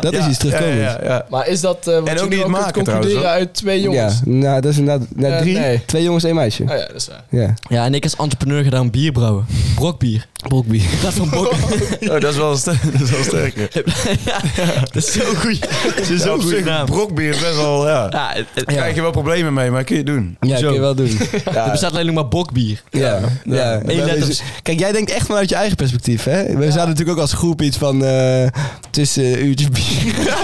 Dat is iets
Ja,
terugkomends.
ja, ja.
Maar is dat eh wat
En ook
je nu
niet
al kunt
maken,
concluderen
trouwens,
uit twee jongens?
Ja, nou, dat is inderdaad nou,
Eh,
drie,
nee.
twee jongens, één meisje.
Oh ja, dat is waar.
Ja,
Ja, en ik als entrepreneur ga daar een bier brouwen. Brokbier.
brokbier.
In plaats van bok.
Oh, dat is wel sterk. Dat is wel sterker.
ja, dat is zo goed. Dat is
Ja,
zo'n
op
goede
zich,
naam.
Brokbier is best wel, ja. Daar
Ja, het- het-
krijg je wel problemen mee, maar kun je het doen.
Ja, dat kun je wel doen.
er bestaat alleen maar bokbier.
Ja, ja.
Eén letters.
Kijk, jij denkt echt vanuit je eigen perspectief, hè? We zouden natuurlijk ook als groep iets van... eh tussen uurtje bier.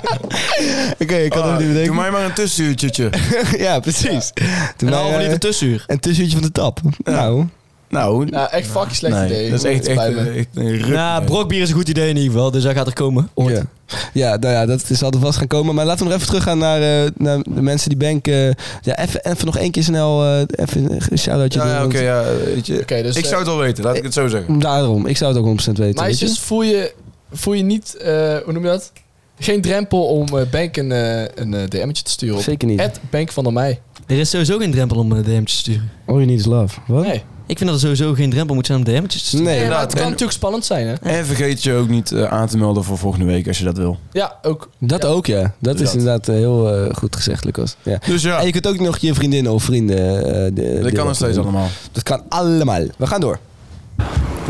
Oké, ik kan
Ah,
het niet
doe
bedenken.
mij maar een tussenuurtje.
ja, precies. Toen
Een
wij,
halve
eh,
liter tussenuur.
een tussenuurtje van de tap. Nou,
nou,
Nou, echt fucking slecht
nee,
idee.
dat is echt, echt, eh,
Spijt me.
echt, een ruk.
Nou, brokbier is een goed idee in ieder geval, dus hij gaat er komen. Ooit.
ja. ja, nou ja, dat is altijd vast gaan komen. Maar laten we nog even teruggaan naar, eh, naar de mensen die bank... eh, ja, even, even nog één keer snel eh, even een shout-outje
ja,
doen.
ja, oké,
want-
ja, weet je.
Oké, dus,
ik
eh,
zou het wel weten, laat ik het zo zeggen.
Daarom, ik zou het ook 100% weten. weet je.
Meisjes, voel je, voel je niet, eh, hoe noem je dat? Geen drempel om eh Bank een, eh, een eh, DM'tje te sturen op.
Zeker niet.
At Bank van der Meij.
Er is sowieso geen drempel om een DM'tje te sturen.
All you need is love. Wat?
Nee,
Ik vind dat er sowieso geen drempel moet zijn om DM'tjes te sturen.
nee,
Nee,
maar het
inderdaad.
kan
En-
natuurlijk spannend zijn, hè?
En vergeet je ook niet eh, aan te melden voor volgende week als je dat wil.
Ja, ook.
dat ook ja. Dat is
Dat.
inderdaad eh, heel eh, goed gezegd, Lucas. Ja.
Dus ja,
En je kunt ook nog je vriendinnen of vrienden... eh, de-
dat
de-
kan nog steeds allemaal.
Dat kan allemaal. We gaan door.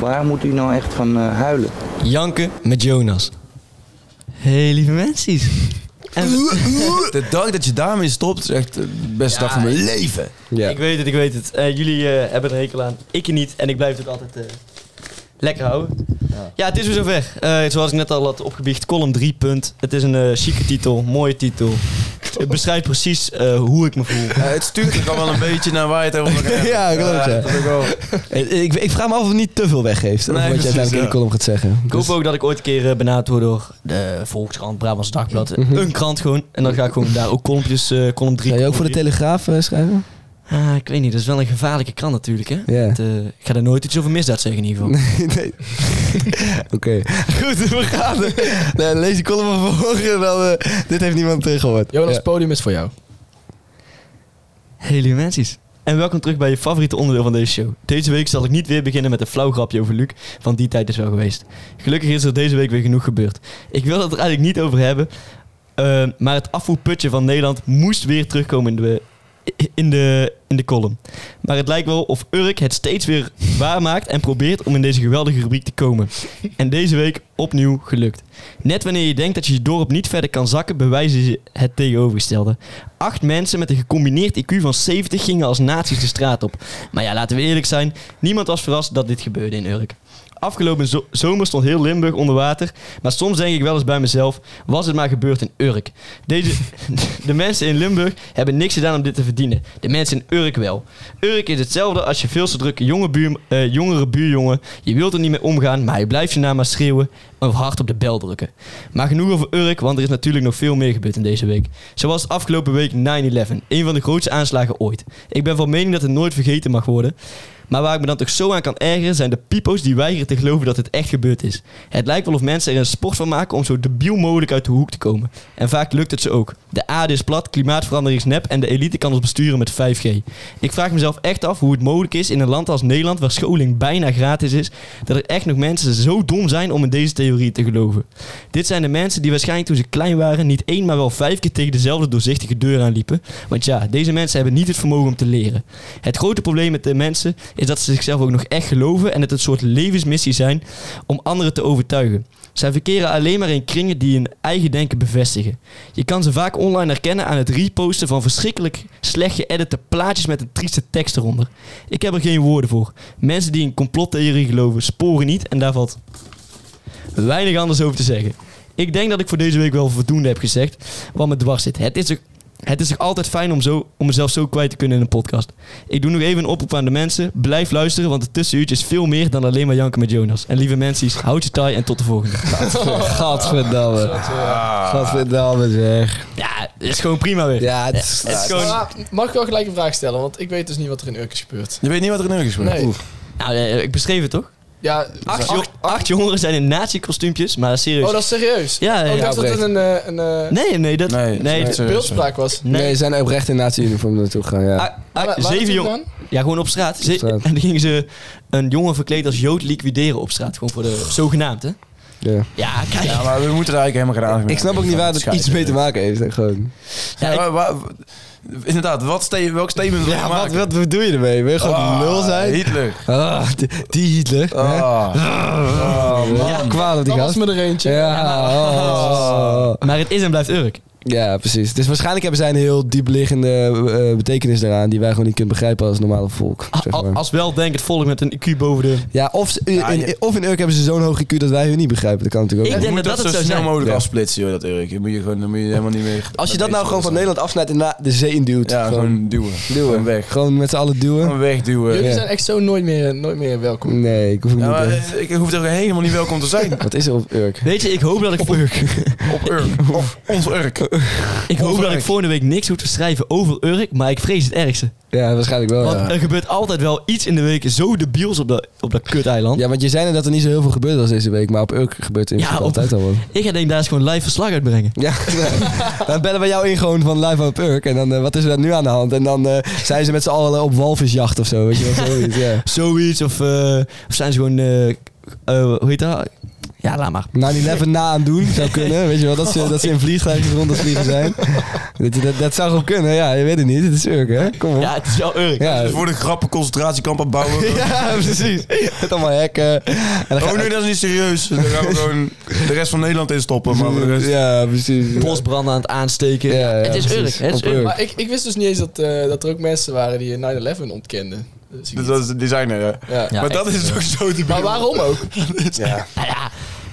Waar moet u nou echt van eh, huilen?
Janken met Jonas. hey, lieve mensen. En,
De dag dat je daarmee stopt is echt de beste dag van mijn leven.
Ja.
Ik weet het, ik weet het. Eh, jullie eh, hebben er hekel aan. Ik niet. En ik blijf het altijd eh, lekker houden. Ja. het is weer zover. Eh, zoals ik net al had opgebiecht, column 3. Punt. Het is een eh chique titel, mooie titel. Het beschrijft precies eh, hoe ik me voel.
het stuurt toch al wel een beetje naar waar je het over gaat hebben.
Ja, klopt, ja.
dat ook wel.
Eh, Ik, ik vraag me af of het niet te veel weggeeft. Of
Nee,
wat je
precies,
uiteindelijk in de
ja.
column gaat zeggen.
Ik hoop ook dat ik ooit een keer eh, benaderd word door de Volkskrant, Brabants Dagblad.
Mhm.
Een krant gewoon. En dan ga ik gewoon daar ook kolompjes, eh column 3.
Zou je ook voor de Telegraaf eh, schrijven?
Ah, ik weet niet, dat is wel een gevaarlijke krant natuurlijk, hè?
Ja.
Het, eh, ik ga daar nooit iets over misdaad zeggen in ieder geval.
Nee, nee. Oké. Goed, we gaan. eh, nou, lees die column van morgen. Dan, eh, dit heeft niemand eh, gehoord.
Jonas,
Ja.
het podium is voor jou.
Hey lieve mensen. En welkom terug bij je favoriete onderdeel van deze show. Deze week zal ik niet weer beginnen met een flauw grapje over Luc, want die tijd is wel geweest. Gelukkig is er deze week weer genoeg gebeurd. Ik wil het er eigenlijk niet over hebben, eh, maar het afvoerputje van Nederland moest weer terugkomen in de, in, de, in de column. Maar het lijkt wel of Urk het steeds weer waarmaakt en probeert om in deze geweldige rubriek te komen. En deze week opnieuw gelukt. Net wanneer je denkt dat je je dorp niet verder kan zakken, bewijzen ze het tegenovergestelde. Acht mensen met een gecombineerd IQ van 70 gingen als nazi's de straat op. Maar ja, laten we eerlijk zijn, niemand was verrast dat dit gebeurde in Urk. Afgelopen zo- zomer stond heel Limburg onder water, maar soms denk ik wel eens bij mezelf, was het maar gebeurd in Urk. Deze, de mensen in Limburg hebben niks gedaan om dit te verdienen. De mensen in Urk wel. Urk is hetzelfde als je veel te drukke jonge buur, eh, jongere buurjongen. Je wilt er niet mee omgaan, maar je blijft je naam maar schreeuwen of hard op de bel drukken. Maar genoeg over Urk, want er is natuurlijk nog veel meer gebeurd in deze week. Zoals afgelopen week 9-11, een van de grootste aanslagen ooit. Ik ben van mening dat het nooit vergeten mag worden. Maar waar ik me dan toch zo aan kan ergeren zijn de pipo's die weigeren te geloven dat het echt gebeurd is. Het lijkt wel of mensen er een sport van maken om zo debiel mogelijk uit de hoek te komen. En vaak lukt het ze ook. De aarde is plat, klimaatverandering is nep en de elite kan ons besturen met 5G. Ik vraag mezelf echt af hoe het mogelijk is in een land als Nederland waar scholing bijna gratis is, dat er echt nog mensen zo dom zijn om in deze theorie te geloven. Dit zijn de mensen die waarschijnlijk toen ze klein waren niet één maar wel vijf keer tegen dezelfde doorzichtige deur aanliepen. Want ja, deze mensen hebben niet het vermogen om te leren. Het grote probleem met de mensen is dat ze zichzelf ook nog echt geloven en het een soort levensmissie zijn om anderen te overtuigen. Zij verkeren alleen maar in kringen die hun eigen denken bevestigen. Je kan ze vaak online herkennen aan het reposten van verschrikkelijk slecht geëdite plaatjes met een trieste tekst eronder. Ik heb er geen woorden voor. Mensen die in complottheorie geloven, sporen niet en daar valt weinig anders over te zeggen. Ik denk dat ik voor deze week wel voldoende heb gezegd wat me dwars zit. Het is toch, het is toch altijd fijn om, zo, om mezelf zo kwijt te kunnen in een podcast. Ik doe nog even een oproep aan de mensen. Blijf luisteren, want het tussenuurtje is veel meer dan alleen maar janken met Jonas. En lieve mensen, houd je taai en tot de volgende.
Gadverdamme. Gadverdamme zeg.
Ja, het is gewoon prima weer.
Ja, het is...
Het is gewoon...
Maar Ah, mag ik wel gelijk een vraag stellen? Want ik weet dus niet wat er in Urk is gebeurd.
Je weet niet wat er in Urk is gebeurd.
Nee.
Nou, eh, ik beschreef het toch?
Ja,
Acht, jo- acht jongeren zijn in nazi-kostuumpjes, maar serieus.
Oh, dat is serieus?
Ja, ja,
Oh, ik
ja,
dacht dat het een, eh, een eh,
Nee, nee, dat...
Nee,
Nee, nee,
het is serieus.
beeldspraak was.
Nee, ze zijn oprecht in nazi-uniform naartoe gegaan, ja.
Ah, ah,
Waar- waar
zeven
naartoe
jongen.
dan?
Ja, gewoon op straat. Ze-
straat.
En dan gingen ze een jongen verkleed als jood liquideren op straat. Gewoon voor de zogenaamd, hè?
ja.
Ja, kijk.
Ja, maar we moeten daar eigenlijk helemaal geen aandacht mee
Ik snap ook niet waar dat iets mee te maken heeft. hè, Gewoon.
Ja, ik-
Ja, waar- waar- Eh, Inderdaad, wat ste- welk statement wil je
Ja, wat,
maken?
wat, wat doe je ermee? Wil je gewoon nul zijn?
Ah, Hitler.
Ah, die, die Hitler.
Ah.
hè?
Ah, man.
Ja, kwaad op die
Dan was
gast.
me er eentje.
Ja, oh.
Maar het is en blijft Urk.
ja, precies. Dus waarschijnlijk hebben zij een heel diepliggende eh, betekenis daaraan... die wij gewoon niet kunnen begrijpen als normale volk.
A-
zeg
al-
maar.
als wel denk het volk met een IQ boven de...
Ja, of, ze- in, in- of in Urk hebben ze zo'n hoog IQ dat wij hun niet begrijpen. Dat kan natuurlijk
Ik
ook.
Je
denk
moet
dat
dat,
dat
zo
het zou
snel
zijn.
mogelijk
Ja.
afsplitsen, joh, dat Urk. Dan moet je, gewoon, dan moet je helemaal niet meer...
Als je dat nou gewoon van Nederland afsnijdt en na de zee induwt...
Ja, gewoon duwen.
duwen.
Gewoon weg.
Gewoon met z'n allen duwen.
Gewoon wegduwen.
Jullie
Ja.
zijn echt zo nooit meer, nooit meer welkom.
Nee, ik hoef het
Ja,
niet.
maar,
hè.
eh, ik hoef er helemaal niet welkom te zijn
Wat is er op Urk?
Weet je, ik hoop dat ik... Op Urk.
op Urk.
Oh,
Of ons Urk.
Ik hoop
Over
dat ik
Urk.
volgende week niks hoef te schrijven over Urk, maar ik vrees het ergste.
Ja, waarschijnlijk wel.
Want
Oh, ja.
er gebeurt altijd wel iets in de week zo debiels op, dat op dat kuteiland.
Ja, want je zei net dat er niet zo heel veel gebeurd was deze week, maar op Urk gebeurt er in
Ja,
principe
op-
altijd al wat.
Ik ga denk daar eens gewoon live verslag uitbrengen.
Ja, nee. dan bellen we jou in gewoon van live op Urk en dan eh, wat is er nu aan de hand? En dan eh, zijn ze met z'n allen op walvisjacht of zo, weet je wel, zoiets, ja.
Zoiets, of, eh, of zijn ze gewoon... eh, eh, hoe heet dat? Ja, laat maar.
9-11 na aan doen zou kunnen, weet je wel, dat ze, dat ze in vliegtuigen rond het vliegen zijn. Dat, dat, dat zou gewoon kunnen, ja, je weet het niet, het is Urk hè, kom op.
Ja, het is wel Urk.
Ja.
Dus voor de grappen concentratiekamp aan bouwen.
Ja, precies. Met allemaal hekken. En dan
Oh nee, dat is niet serieus. Dan gaan we gewoon de rest van Nederland in stoppen. Maar voor Oh, de rest...
Ja, precies.
Bosbranden aan het aansteken.
Ja, ja,
het is
precies.
Urk. Het is
Op Urk.
Urk.
Maar ik, ik wist dus niet eens dat, eh, dat er ook mensen waren die 9-11 ontkenden. Dus ik-
Dat is de designer, hè.
ja.
maar dat is toch zo te
Maar waarom ook?
Nou ja,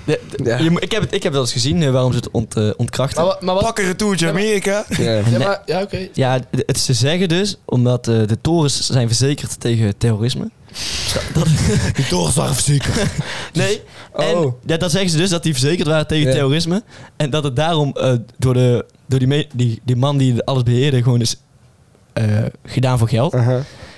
De- de- je moet- ik, heb het, ik heb wel eens gezien eh, waarom ze het ont, eh, ontkrachten.
Maar wa- maar wat- Pak een
retourtje Amerika.
Ja, maar, ja oké.
Ja, d- het, ze zeggen dus, omdat eh, de torens zijn verzekerd tegen terrorisme. die torens waren verzekerd. nee, en, ja, dan zeggen ze dus dat die verzekerd waren tegen terrorisme. En dat het daarom eh, door, de, door die, me- die, die man die alles beheerde gewoon is eh, gedaan voor geld.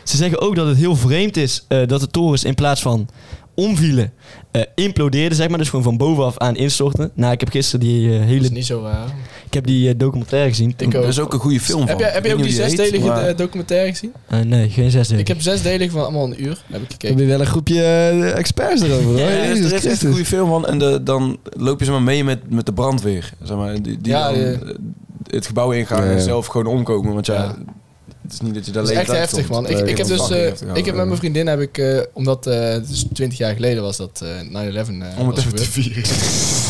Ze zeggen ook dat het heel vreemd is eh, dat de torens in plaats van omvielen, eh, implodeerden, zeg maar. Dus gewoon van bovenaf aan instorten. Nou, ik heb gisteren die eh, hele...
is niet zo raar.
Ik heb die eh, documentaire gezien.
Ik ook.
Dat
is ook een goede
film
Heb jij, heb jij ook die zesdelige eh, documentaire gezien?
Eh, nee, geen zesdelige.
Ik heb zesdelig van allemaal een uur. Heb ik gekeken.
Heb je wel een groepje eh, experts erover, hoor.
Ja, er is-
Jezus
er is echt
Christus.
een goede film van. En de, dan loop je ze maar mee met, met de brandweer. Zeg maar, die die
Ja,
dan,
ja.
eh, het gebouw ingaan
Ja, ja.
en zelf gewoon omkomen. Want ja, het is niet dat je daar
Dat is
leeg
echt
uitkomt.
heftig, man. Ik,
Nee,
ik heb
dat is
dus,
fucking
eh,
heftig, ja.
ik heb met mijn vriendin, heb ik, eh, omdat eh, het dus 20 jaar geleden was dat eh 9-11 eh,
Om het
was
even te
gebeurd.
vieren.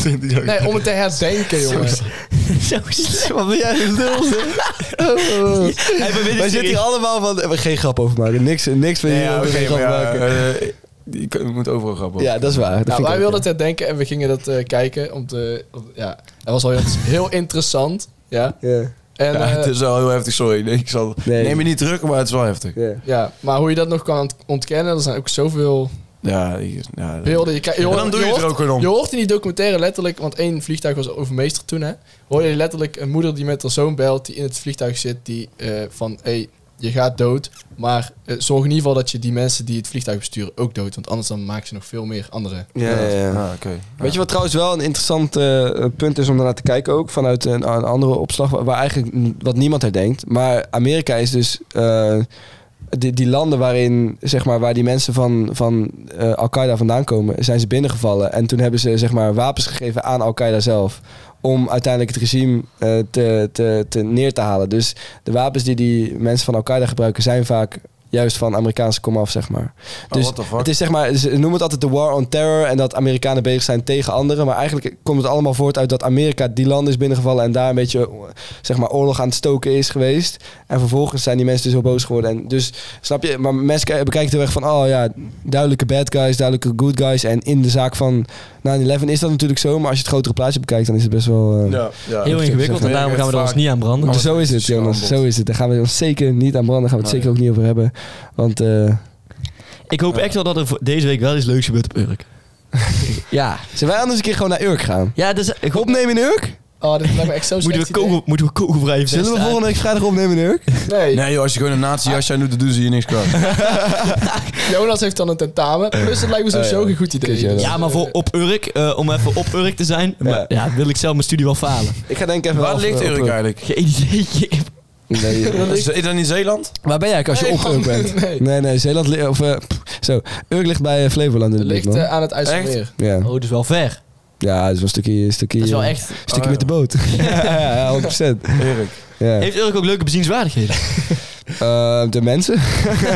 20 jaar
Nee, om het te herdenken, jongen.
Zo Wat ben jij een lul, zeg?
Wij zitten hier allemaal van... eh, Geen grap over maken. Niks, niks van
Nee,
hier.
ja,
geen
oké,
grap
maar ja,
maken.
eh, je kan- je moet overal grappen.
Ja, dat is waar. Dat vind
Nou,
ik
wij
ook,
wilden
ja.
het herdenken en we gingen dat eh, kijken. Om te, om- ja, dat was wel heel, heel interessant. Ja.
ja,
En, eh,
het is wel heel heftig, sorry. Nee, ik zal, Neem je niet terug, maar het is wel heftig.
ja, maar hoe je dat nog kan ont- ontkennen, er zijn ook zoveel
Ja, hier- ja, dat-
beelden. Je, ki-
En
hoort-
dan doe je, het
hoort-
er ook gewoon om.
Je hoort in die documentaire letterlijk, want één vliegtuig was overmeester toen, hè. Hoor je letterlijk een moeder die met haar zoon belt, die in het vliegtuig zit, die eh, van, hé, hey, je gaat dood, maar eh, zorg in ieder geval dat je die mensen die het vliegtuig besturen ook dood, want anders dan maken ze nog veel meer andere.
Ja, ja, ja.
Ah, oké.
Weet je wat trouwens wel een interessant eh, punt is om daarnaar te kijken ook? Vanuit een, een andere opslag wa- waar eigenlijk n- wat niemand herdenkt. Maar Amerika is dus eh, die, die landen waarin, zeg maar, waar die mensen van, van eh, Al-Qaeda vandaan komen, zijn ze binnengevallen. En toen hebben ze zeg maar, wapens gegeven aan Al-Qaeda zelf. Om uiteindelijk het regime eh, te, te, te neer te halen. Dus de wapens die die mensen van Al-Qaeda gebruiken zijn vaak juist van Amerikaanse komaf, zeg maar. Dus
Oh, what the fuck?
het is zeg maar, ze noemen het altijd de war on terror en dat Amerikanen bezig zijn tegen anderen. Maar eigenlijk komt het allemaal voort uit dat Amerika die land is binnengevallen en daar een beetje zeg maar, oorlog aan het stoken is geweest. En vervolgens zijn die mensen dus heel boos geworden. En dus snap je, maar mensen ki- bekijken het heel erg van, oh ja, duidelijke bad guys, duidelijke good guys. En in de zaak van 9-11 is dat natuurlijk zo, maar als je het grotere plaatje bekijkt, dan is het best wel... eh,
Ja, ja.
Heel ingewikkeld en daarom gaan we er ons niet aan branden.
dus zo is het, Jonas. Zo is het. Daar gaan we ons zeker niet aan branden. Daar gaan we het zeker ook niet over hebben. Want eh,
Ik hoop echt wel dat er voor- deze week wel iets leuks gebeurt op Urk. ja.
Zullen wij anders een keer gewoon naar Urk gaan?
Ja, dus ik hoop...
opnemen in Urk?
Oh, dit lijkt me echt zo
Moeten we, kogel, moeten we kogelvrij
Zullen we volgende week vrijdag opnemen in Urk?
Nee,
Nee, joh, als je gewoon een nazi-jasje aan doet, dan doen ze je niks kwaad.
Jonas heeft dan een tentamen, plus het lijkt me
Eh,
sowieso een goed idee. Dus,
Ja, maar voor op Urk, eh, om even op Urk te zijn, maar, ja, wil ik zelf mijn studie wel falen.
Ik ga denk ik even... eh,
Waar ligt Urk eigenlijk?
Geen idee. ik heb-
Is is dat in Zeeland?
Waar ben jij eigenlijk als je
Nee,
op Urk
man,
bent?
nee.
Nee, nee, Zeeland ligt... Of, eh, pff, zo, Urk ligt bij eh, Flevoland in de buurt,
Het ligt
man.
eh, aan het IJsselmeer.
Ja.
Oh, dat is wel ver.
ja, dat is wel een stukje... Een stukje,
Dat is wel
eh,
echt...
stukje met de boot. ja, 100%.
Urk.
Ja.
Heeft Urk ook leuke bezienswaardigheden?
Eh, de mensen.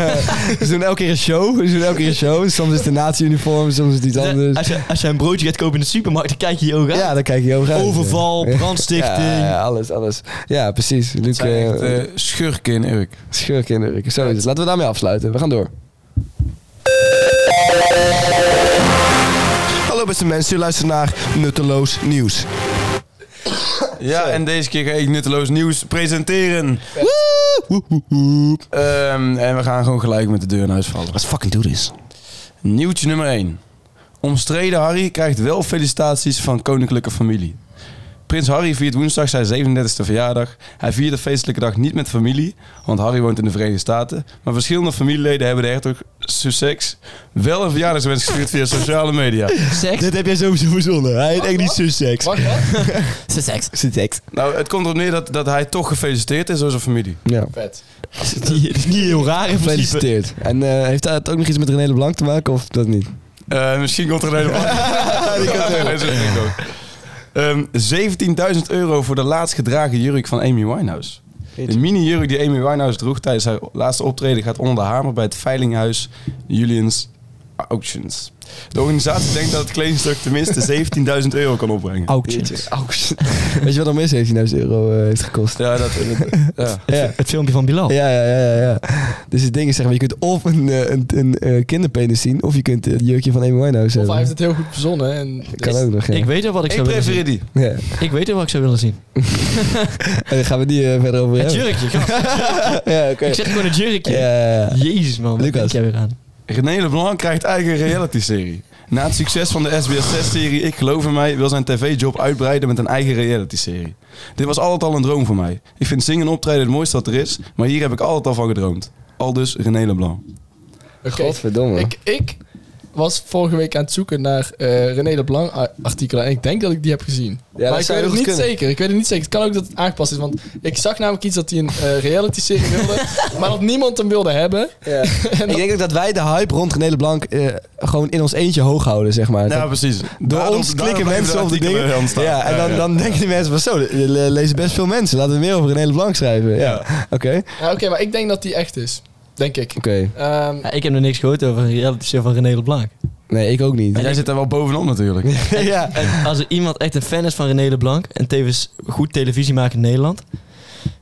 ze doen elke keer een show. Ze doen elke keer een show. Soms is het een natieuniform, soms is het iets anders.
Als je, als je een broodje gaat kopen in de supermarkt, dan kijk je hier ook aan.
Ja, dan kijk je over uit.
Overval, brandstichting.
Ja, ja, alles, alles. Ja, precies. Luc,
Zijn echt
eh,
eh, schurken in Urk.
schurk in de ruk. Zo is het. Laten we daarmee afsluiten. We gaan door. Hallo beste mensen, u luistert naar Nutteloos Nieuws.
Ja, en deze keer ga ik nutteloos nieuws presenteren. Ehm, en we gaan gewoon gelijk met de deur in huis vallen.
Let's fucking do this.
Nieuwtje nummer 1. Omstreden Harry krijgt wel felicitaties van koninklijke familie. Prins Harry viert woensdag zijn 37e verjaardag. Hij viert de feestelijke dag niet met familie, want Harry woont in de Verenigde Staten. Maar verschillende familieleden hebben de hertog Sussex wel een verjaardagswens gestuurd via sociale media.
Seks?
Dit heb jij sowieso verzonnen. Hij heet echt niet Sussex.
Wacht, wat?
Seks.
Seks.
Nou, het komt erop neer dat, dat hij toch gefeliciteerd is door zijn familie.
Ja.
Vet.
Die is niet heel raar in principe.
Gefeliciteerd. En eh, heeft dat ook nog iets met René Leblanc te maken of dat niet?
Eh, misschien komt er een hele Die ook. 17.000 Ehm, euro voor de laatst gedragen jurk van Amy Winehouse. De mini-jurk die Amy Winehouse droeg tijdens haar laatste optreden gaat onder de hamer bij het veilinghuis Julians Auctions. De organisatie denkt dat het kledingstuk tenminste 17.000 euro kan opbrengen.
Auctions. Weet je wat er mis 17.000 euro eh, heeft gekost?
Ja, dat... Ja.
Ja.
Het filmpje van Bilal.
Ja, ja, ja, ja, ja. Dus het ding is, zeg maar, je kunt of een, eh, een, een eh, kinderpenis zien, of je kunt het jurkje van Amy Winehouse
Of hij heeft
hebben.
het heel goed verzonnen. En
Kan ook nog, ja.
Ik weet al wat ik
Ik
zou willen zien.
prefereer die.
Ja.
Ik weet al wat ik zou willen zien.
En daar gaan we die eh, verder over
Het
hebben.
jurkje, gast.
Ja, oké.
Ik zeg gewoon het jurkje.
Ja, ja, ja.
Jezus man, wat
Lucas.
denk jij weer aan?
René Leblanc krijgt eigen reality-serie. Na het succes van de SBS6-serie Ik Geloof in Mij wil zijn tv-job uitbreiden met een eigen reality-serie. Dit was altijd al een droom voor mij. Ik vind zingen en optreden het mooiste wat er is, maar hier heb ik altijd al van gedroomd. Al dus René Leblanc.
Oké.
Godverdomme.
Ik, ik was vorige week aan het zoeken naar eh René Leblanc a- artikelen en ik denk dat ik die heb gezien.
dat
maar ik
zou
weet
heel
het
goed
niet
kunnen.
zeker. Ik weet het niet zeker. Het kan ook dat het aangepast is, want ik zag namelijk iets dat hij een eh, reality-serie wilde, maar dat niemand hem wilde hebben.
Ja. Ik denk ook dat wij de hype rond René Blank gewoon in ons eentje hoog houden, zeg maar.
Ja,
Dat-
precies.
door ons klikken mensen op die dingen. Ja, en dan, dan denken die mensen van zo, er le- lezen best veel mensen. Laten we meer over René Blank schrijven. Ja, oké.
Ja, Oké, maar ik denk dat die echt is. Denk ik.
Oké.
Ehm,
Ja, ik heb nog niks gehoord over een reality show van René Leblanc.
Nee, ik ook niet.
En jij zit er wel bovenop natuurlijk.
ja.
En als er iemand echt een fan is van René Leblanc en tevens goed televisie maakt in Nederland,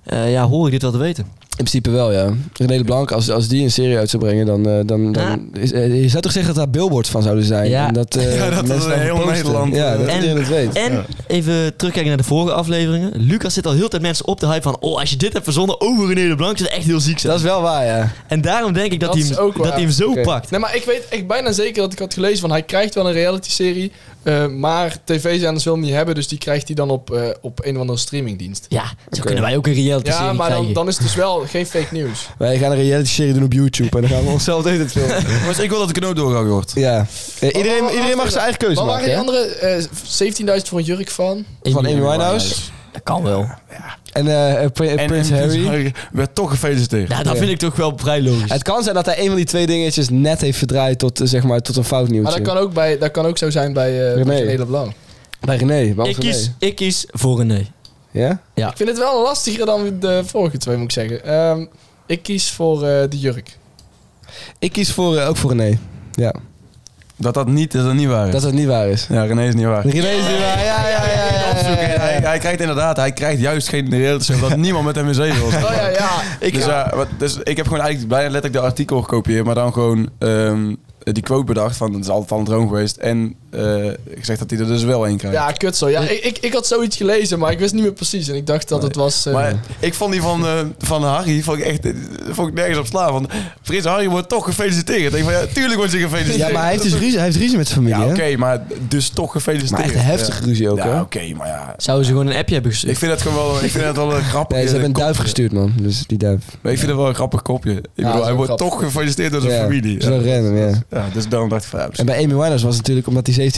eh, ja, hoor ik dit wel te weten.
In principe wel, ja. René Blank, als, als die een serie uit zou brengen, dan... eh, dan, dan is, eh, je zou toch zeggen dat daar billboards van zouden zijn?
Ja.
En dat, eh,
Ja, dat
mensen
is
daarvan
heel
posten.
Nederland,
Ja,
eh,
dat
en-
iedereen het weet.
En even terugkijken naar de vorige afleveringen. Lucas zit al heel de tijd mensen op te hype van, oh, als je dit hebt verzonnen over René Leblanc, zou het echt heel ziek zijn.
Dat is wel waar, ja.
En daarom denk ik dat,
Dat
hij,
is
hem,
ook
dat
waar.
hij hem zo
Oké. Nou-
pakt.
Nee, maar ik weet echt bijna zeker dat ik had gelezen van hij krijgt wel een reality-serie, eh, maar tv-zenders wil hem niet hebben, dus die krijgt hij dan op, eh, op een of andere streamingdienst.
Ja, zo kunnen wij ook een reality serie
Ja, maar dan,
krijgen.
dan is het dus wel geen fake news.
Wij gaan een reality serie doen op YouTube en dan gaan we onszelf de hele tijd filmen.
Jongens, ik wil dat de knoop doorgehakt wordt.
Ja. Eh, iedereen,
Wacht,
iedereen mag
wacht
zijn eigen keuze
Wat waren
maken.
die
hè?
andere eh, 17.000 voor een jurk van?
Van Amy Winehouse.
Dat kan wel.
En, eh, eh, Pri- eh,
En
Prince Harry.
werd toch gefeliciteerd.
Ja, dat vind ik toch wel vrij logisch.
Het kan zijn dat hij een van die twee dingetjes net heeft verdraaid tot, eh, zeg maar, tot een fout nieuwtje.
Maar dat kan ook, bij, dat kan ook zo zijn bij eh
René.
René Leblanc.
Bij René. waarom
Ik
René?
kies, ik kies voor René.
Ja?
Ik vind het wel lastiger dan de vorige twee, moet ik zeggen. Ehm, ik kies voor eh, de jurk.
Ik kies voor, eh, ook voor René. Ja.
Dat dat niet, dat dat niet waar is.
Dat het niet waar is.
Ja, René is niet waar.
René is niet waar. Ja, ja, ja. ja, ja,
Opzoeken.
ja, ja.
Hij, hij krijgt inderdaad, hij krijgt juist geen reality show, omdat niemand met hem in zee wil. zeg
Oh
maar.
ja, ja.
Ik, dus, ja, wat- dus ik heb gewoon eigenlijk bijna letterlijk de artikel gekopieerd, maar dan gewoon ehm, die quote bedacht van het is altijd al een droom geweest. En eh, ik zeg dat hij er dus wel één krijgt.
Ja, kut zo. Ja, ik, ik, ik had zoiets gelezen, maar ik wist niet meer precies. En ik dacht dat het was... eh,
Maar ik vond die van, eh, van Harry vond ik echt eh, vond ik nergens op slaan. Want Prins Harry wordt toch gefeliciteerd. Ik denk van ja, tuurlijk wordt ze gefeliciteerd.
Ja, maar hij heeft dus ruzie, hij heeft ruzie met zijn
Ja,
familie.
oké,
hè?
maar dus toch gefeliciteerd.
Maar echt een heftige ruzie ook,
Ja,
hè?
oké, maar ja.
Zouden ze gewoon een appje hebben
Ik
gestuurd?
vind dat gewoon wel, ik vind dat wel een grappig
Nee, ze hebben een
kopje.
duif gestuurd, man. Dus die duif.
Maar ik vind dat wel een grappig kopje. Ik
dat is
bedoel, hij
wel
wordt
grappig.
toch gefeliciteerd door zijn
Ja,
familie.
Zo
Ja.
random, ja.
Ja, dus daarom dacht ik van ja, misschien-
En bij Amy Winehouse was het natuurlijk omdat hij 17.000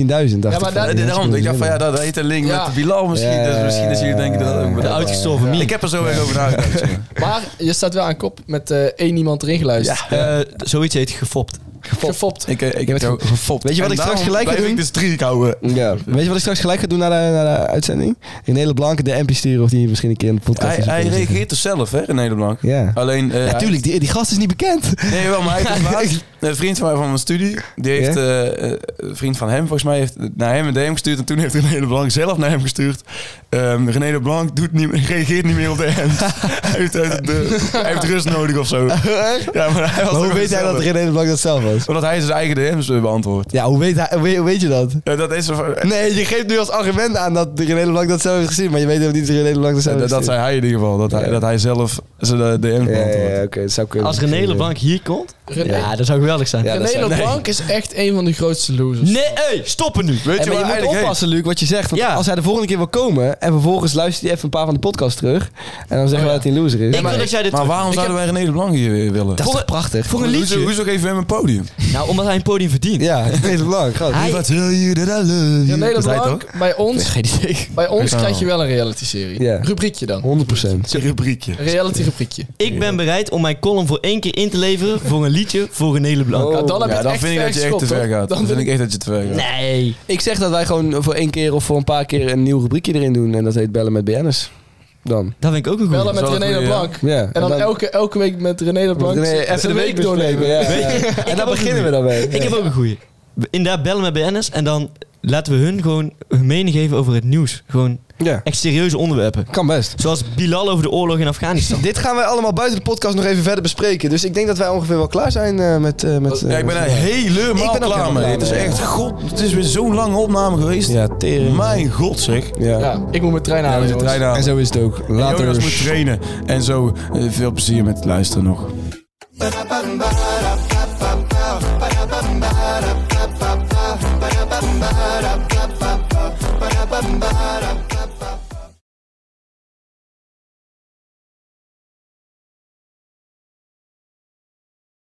dacht. ik van,
maar daar-
die
Nee,
mensen
daarom.
kunnen
Ik dacht van ja,
winnen.
dat heet een link
Ja.
met de Bilal misschien.
Ja.
Dus misschien dat jullie denken dat dat ook
De
bedacht is.
uitgestorven meme.
Ik heb er zo erg over nagedacht. jongen.
maar je staat wel aan kop met eh, één iemand erin geluisterd.
Eh, zoiets heet gefopt.
Gefopt.
Ik, eh, ik heb het gefopt.
Weet je wat
En
ik straks
daarom
gelijk ga
blijf
doen?
ik de streak houden.
Ja. Weet je wat ik straks gelijk ga doen na de, na de uitzending? Een hele blanke DM sturen of die hier misschien een keer in de podcast
Hij,
is. dus
hij reageert er zelf, hè, René Leblanc.
Ja.
Alleen... eh, hij-
Natuurlijk, die, die gast is niet bekend.
Nee, wel, maar hij heeft dus laatst- Een vriend van mij van mijn studie, die heeft...
Ja?
eh, eh, een vriend van hem, volgens mij, heeft naar hem een DM gestuurd. En toen heeft René Leblanc zelf naar hem gestuurd. Ehm René Leblanc doet niet, reageert niet meer op DM's. hij, heeft, uit de- hij heeft rust nodig of zo. Ja, maar hij was
Maar hoe
ook
weet hij dat
zelf.
René de Blank dat zelf was?
Omdat hij zijn eigen DM's beantwoordt.
Ja, hoe weet, hij, hoe weet- hoe weet je dat?
Ja, dat is zo-
Nee, je geeft nu als argument aan dat de René de Blank dat zelf heeft gezien, maar je weet helemaal niet dat René de Blank dat zelf
Ja, dat,
heeft
dat
gezien.
zei hij in ieder geval. Dat hij,
Ja.
dat hij zelf zijn eh, DM
Ja,
beantwoordt.
ja, ja, oké, dat zou kunnen.
Als René Leblanc hier komt,
René,
ja, dat zou geweldig zijn.
Ja, dat
René
zou-
Leblanc is echt een van de grootste losers.
Nee, hey, stoppen nu.
Weet
En
je
maar
waar
je moet
eigenlijk heen?
oppassen, Luc, wat je zegt. Want
Ja.
als hij de volgende keer wil komen en vervolgens luistert hij even een paar van de podcast terug en dan zeggen we dat hij een loser is.
Oh ik wil dat jij dit
Maar
terug-
waarom
Ik
zouden wij René de Blanc hier weer willen?
dat is toch prachtig?
voor een
Hoezo-
liedje.
Hoezo geven we hem een podium?
heb- Nou, omdat hij een podium verdient.
Ja, René de Blanc, gast.
Hij-
Wat wil je dat I love you?
René
Dat hij toch?
Leblanc, bij ons,
Geen idee.
bij ons
Ja.
krijg je wel een reality-serie.
Ja.
Rubriekje dan.
100%.
Een rubriekje.
Een reality-rubriekje.
Ik ben bereid om mijn column voor één keer in te leveren voor een liedje voor René Leblanc.
Ja, dan heb je
Ja,
het
dan
echt
vind ik
ver
dat je echt
geschopt,
te ver
hoor.
gaat.
Dan
Dan vind
vind
ik echt dat je te ver gaat.
Nee.
Ik zeg dat wij gewoon voor één keer of voor een paar keer een nieuw rubriekje erin doen. En dat heet Bellen met BN'ers. dan.
Dat vind ik ook een
Bellen met René de Blank. En dan elke, elke week met René de Blank
René, even de week doornemen, ja. En daar beginnen we dan mee.
Ik heb ook een goeie. Inderdaad, bellen met BNS en dan laten we hun gewoon hun mening geven over het nieuws. Gewoon echt serieuze onderwerpen.
Kan best.
Zoals Bilal over de oorlog in Afghanistan.
Dit gaan wij allemaal buiten de podcast nog even verder bespreken. Dus ik denk dat wij ongeveer wel klaar zijn eh, met... eh, met
Ja, ik ben er helemaal klaar mee. Het is echt, god, het is weer zo'n lange opname geweest.
Ja, tering.
Mijn god zeg.
Ja.
Ja, ik moet mijn trein halen.
moet de
jongens.
trein halen.
En zo is het ook.
En
Later.
Jonas moet trainen. En zo, eh, veel plezier met luisteren nog.
Ba-da-ba-ba-da, ba-da-ba-ba-da, ba-da-ba-ba-da, ba-da-ba-ba-da.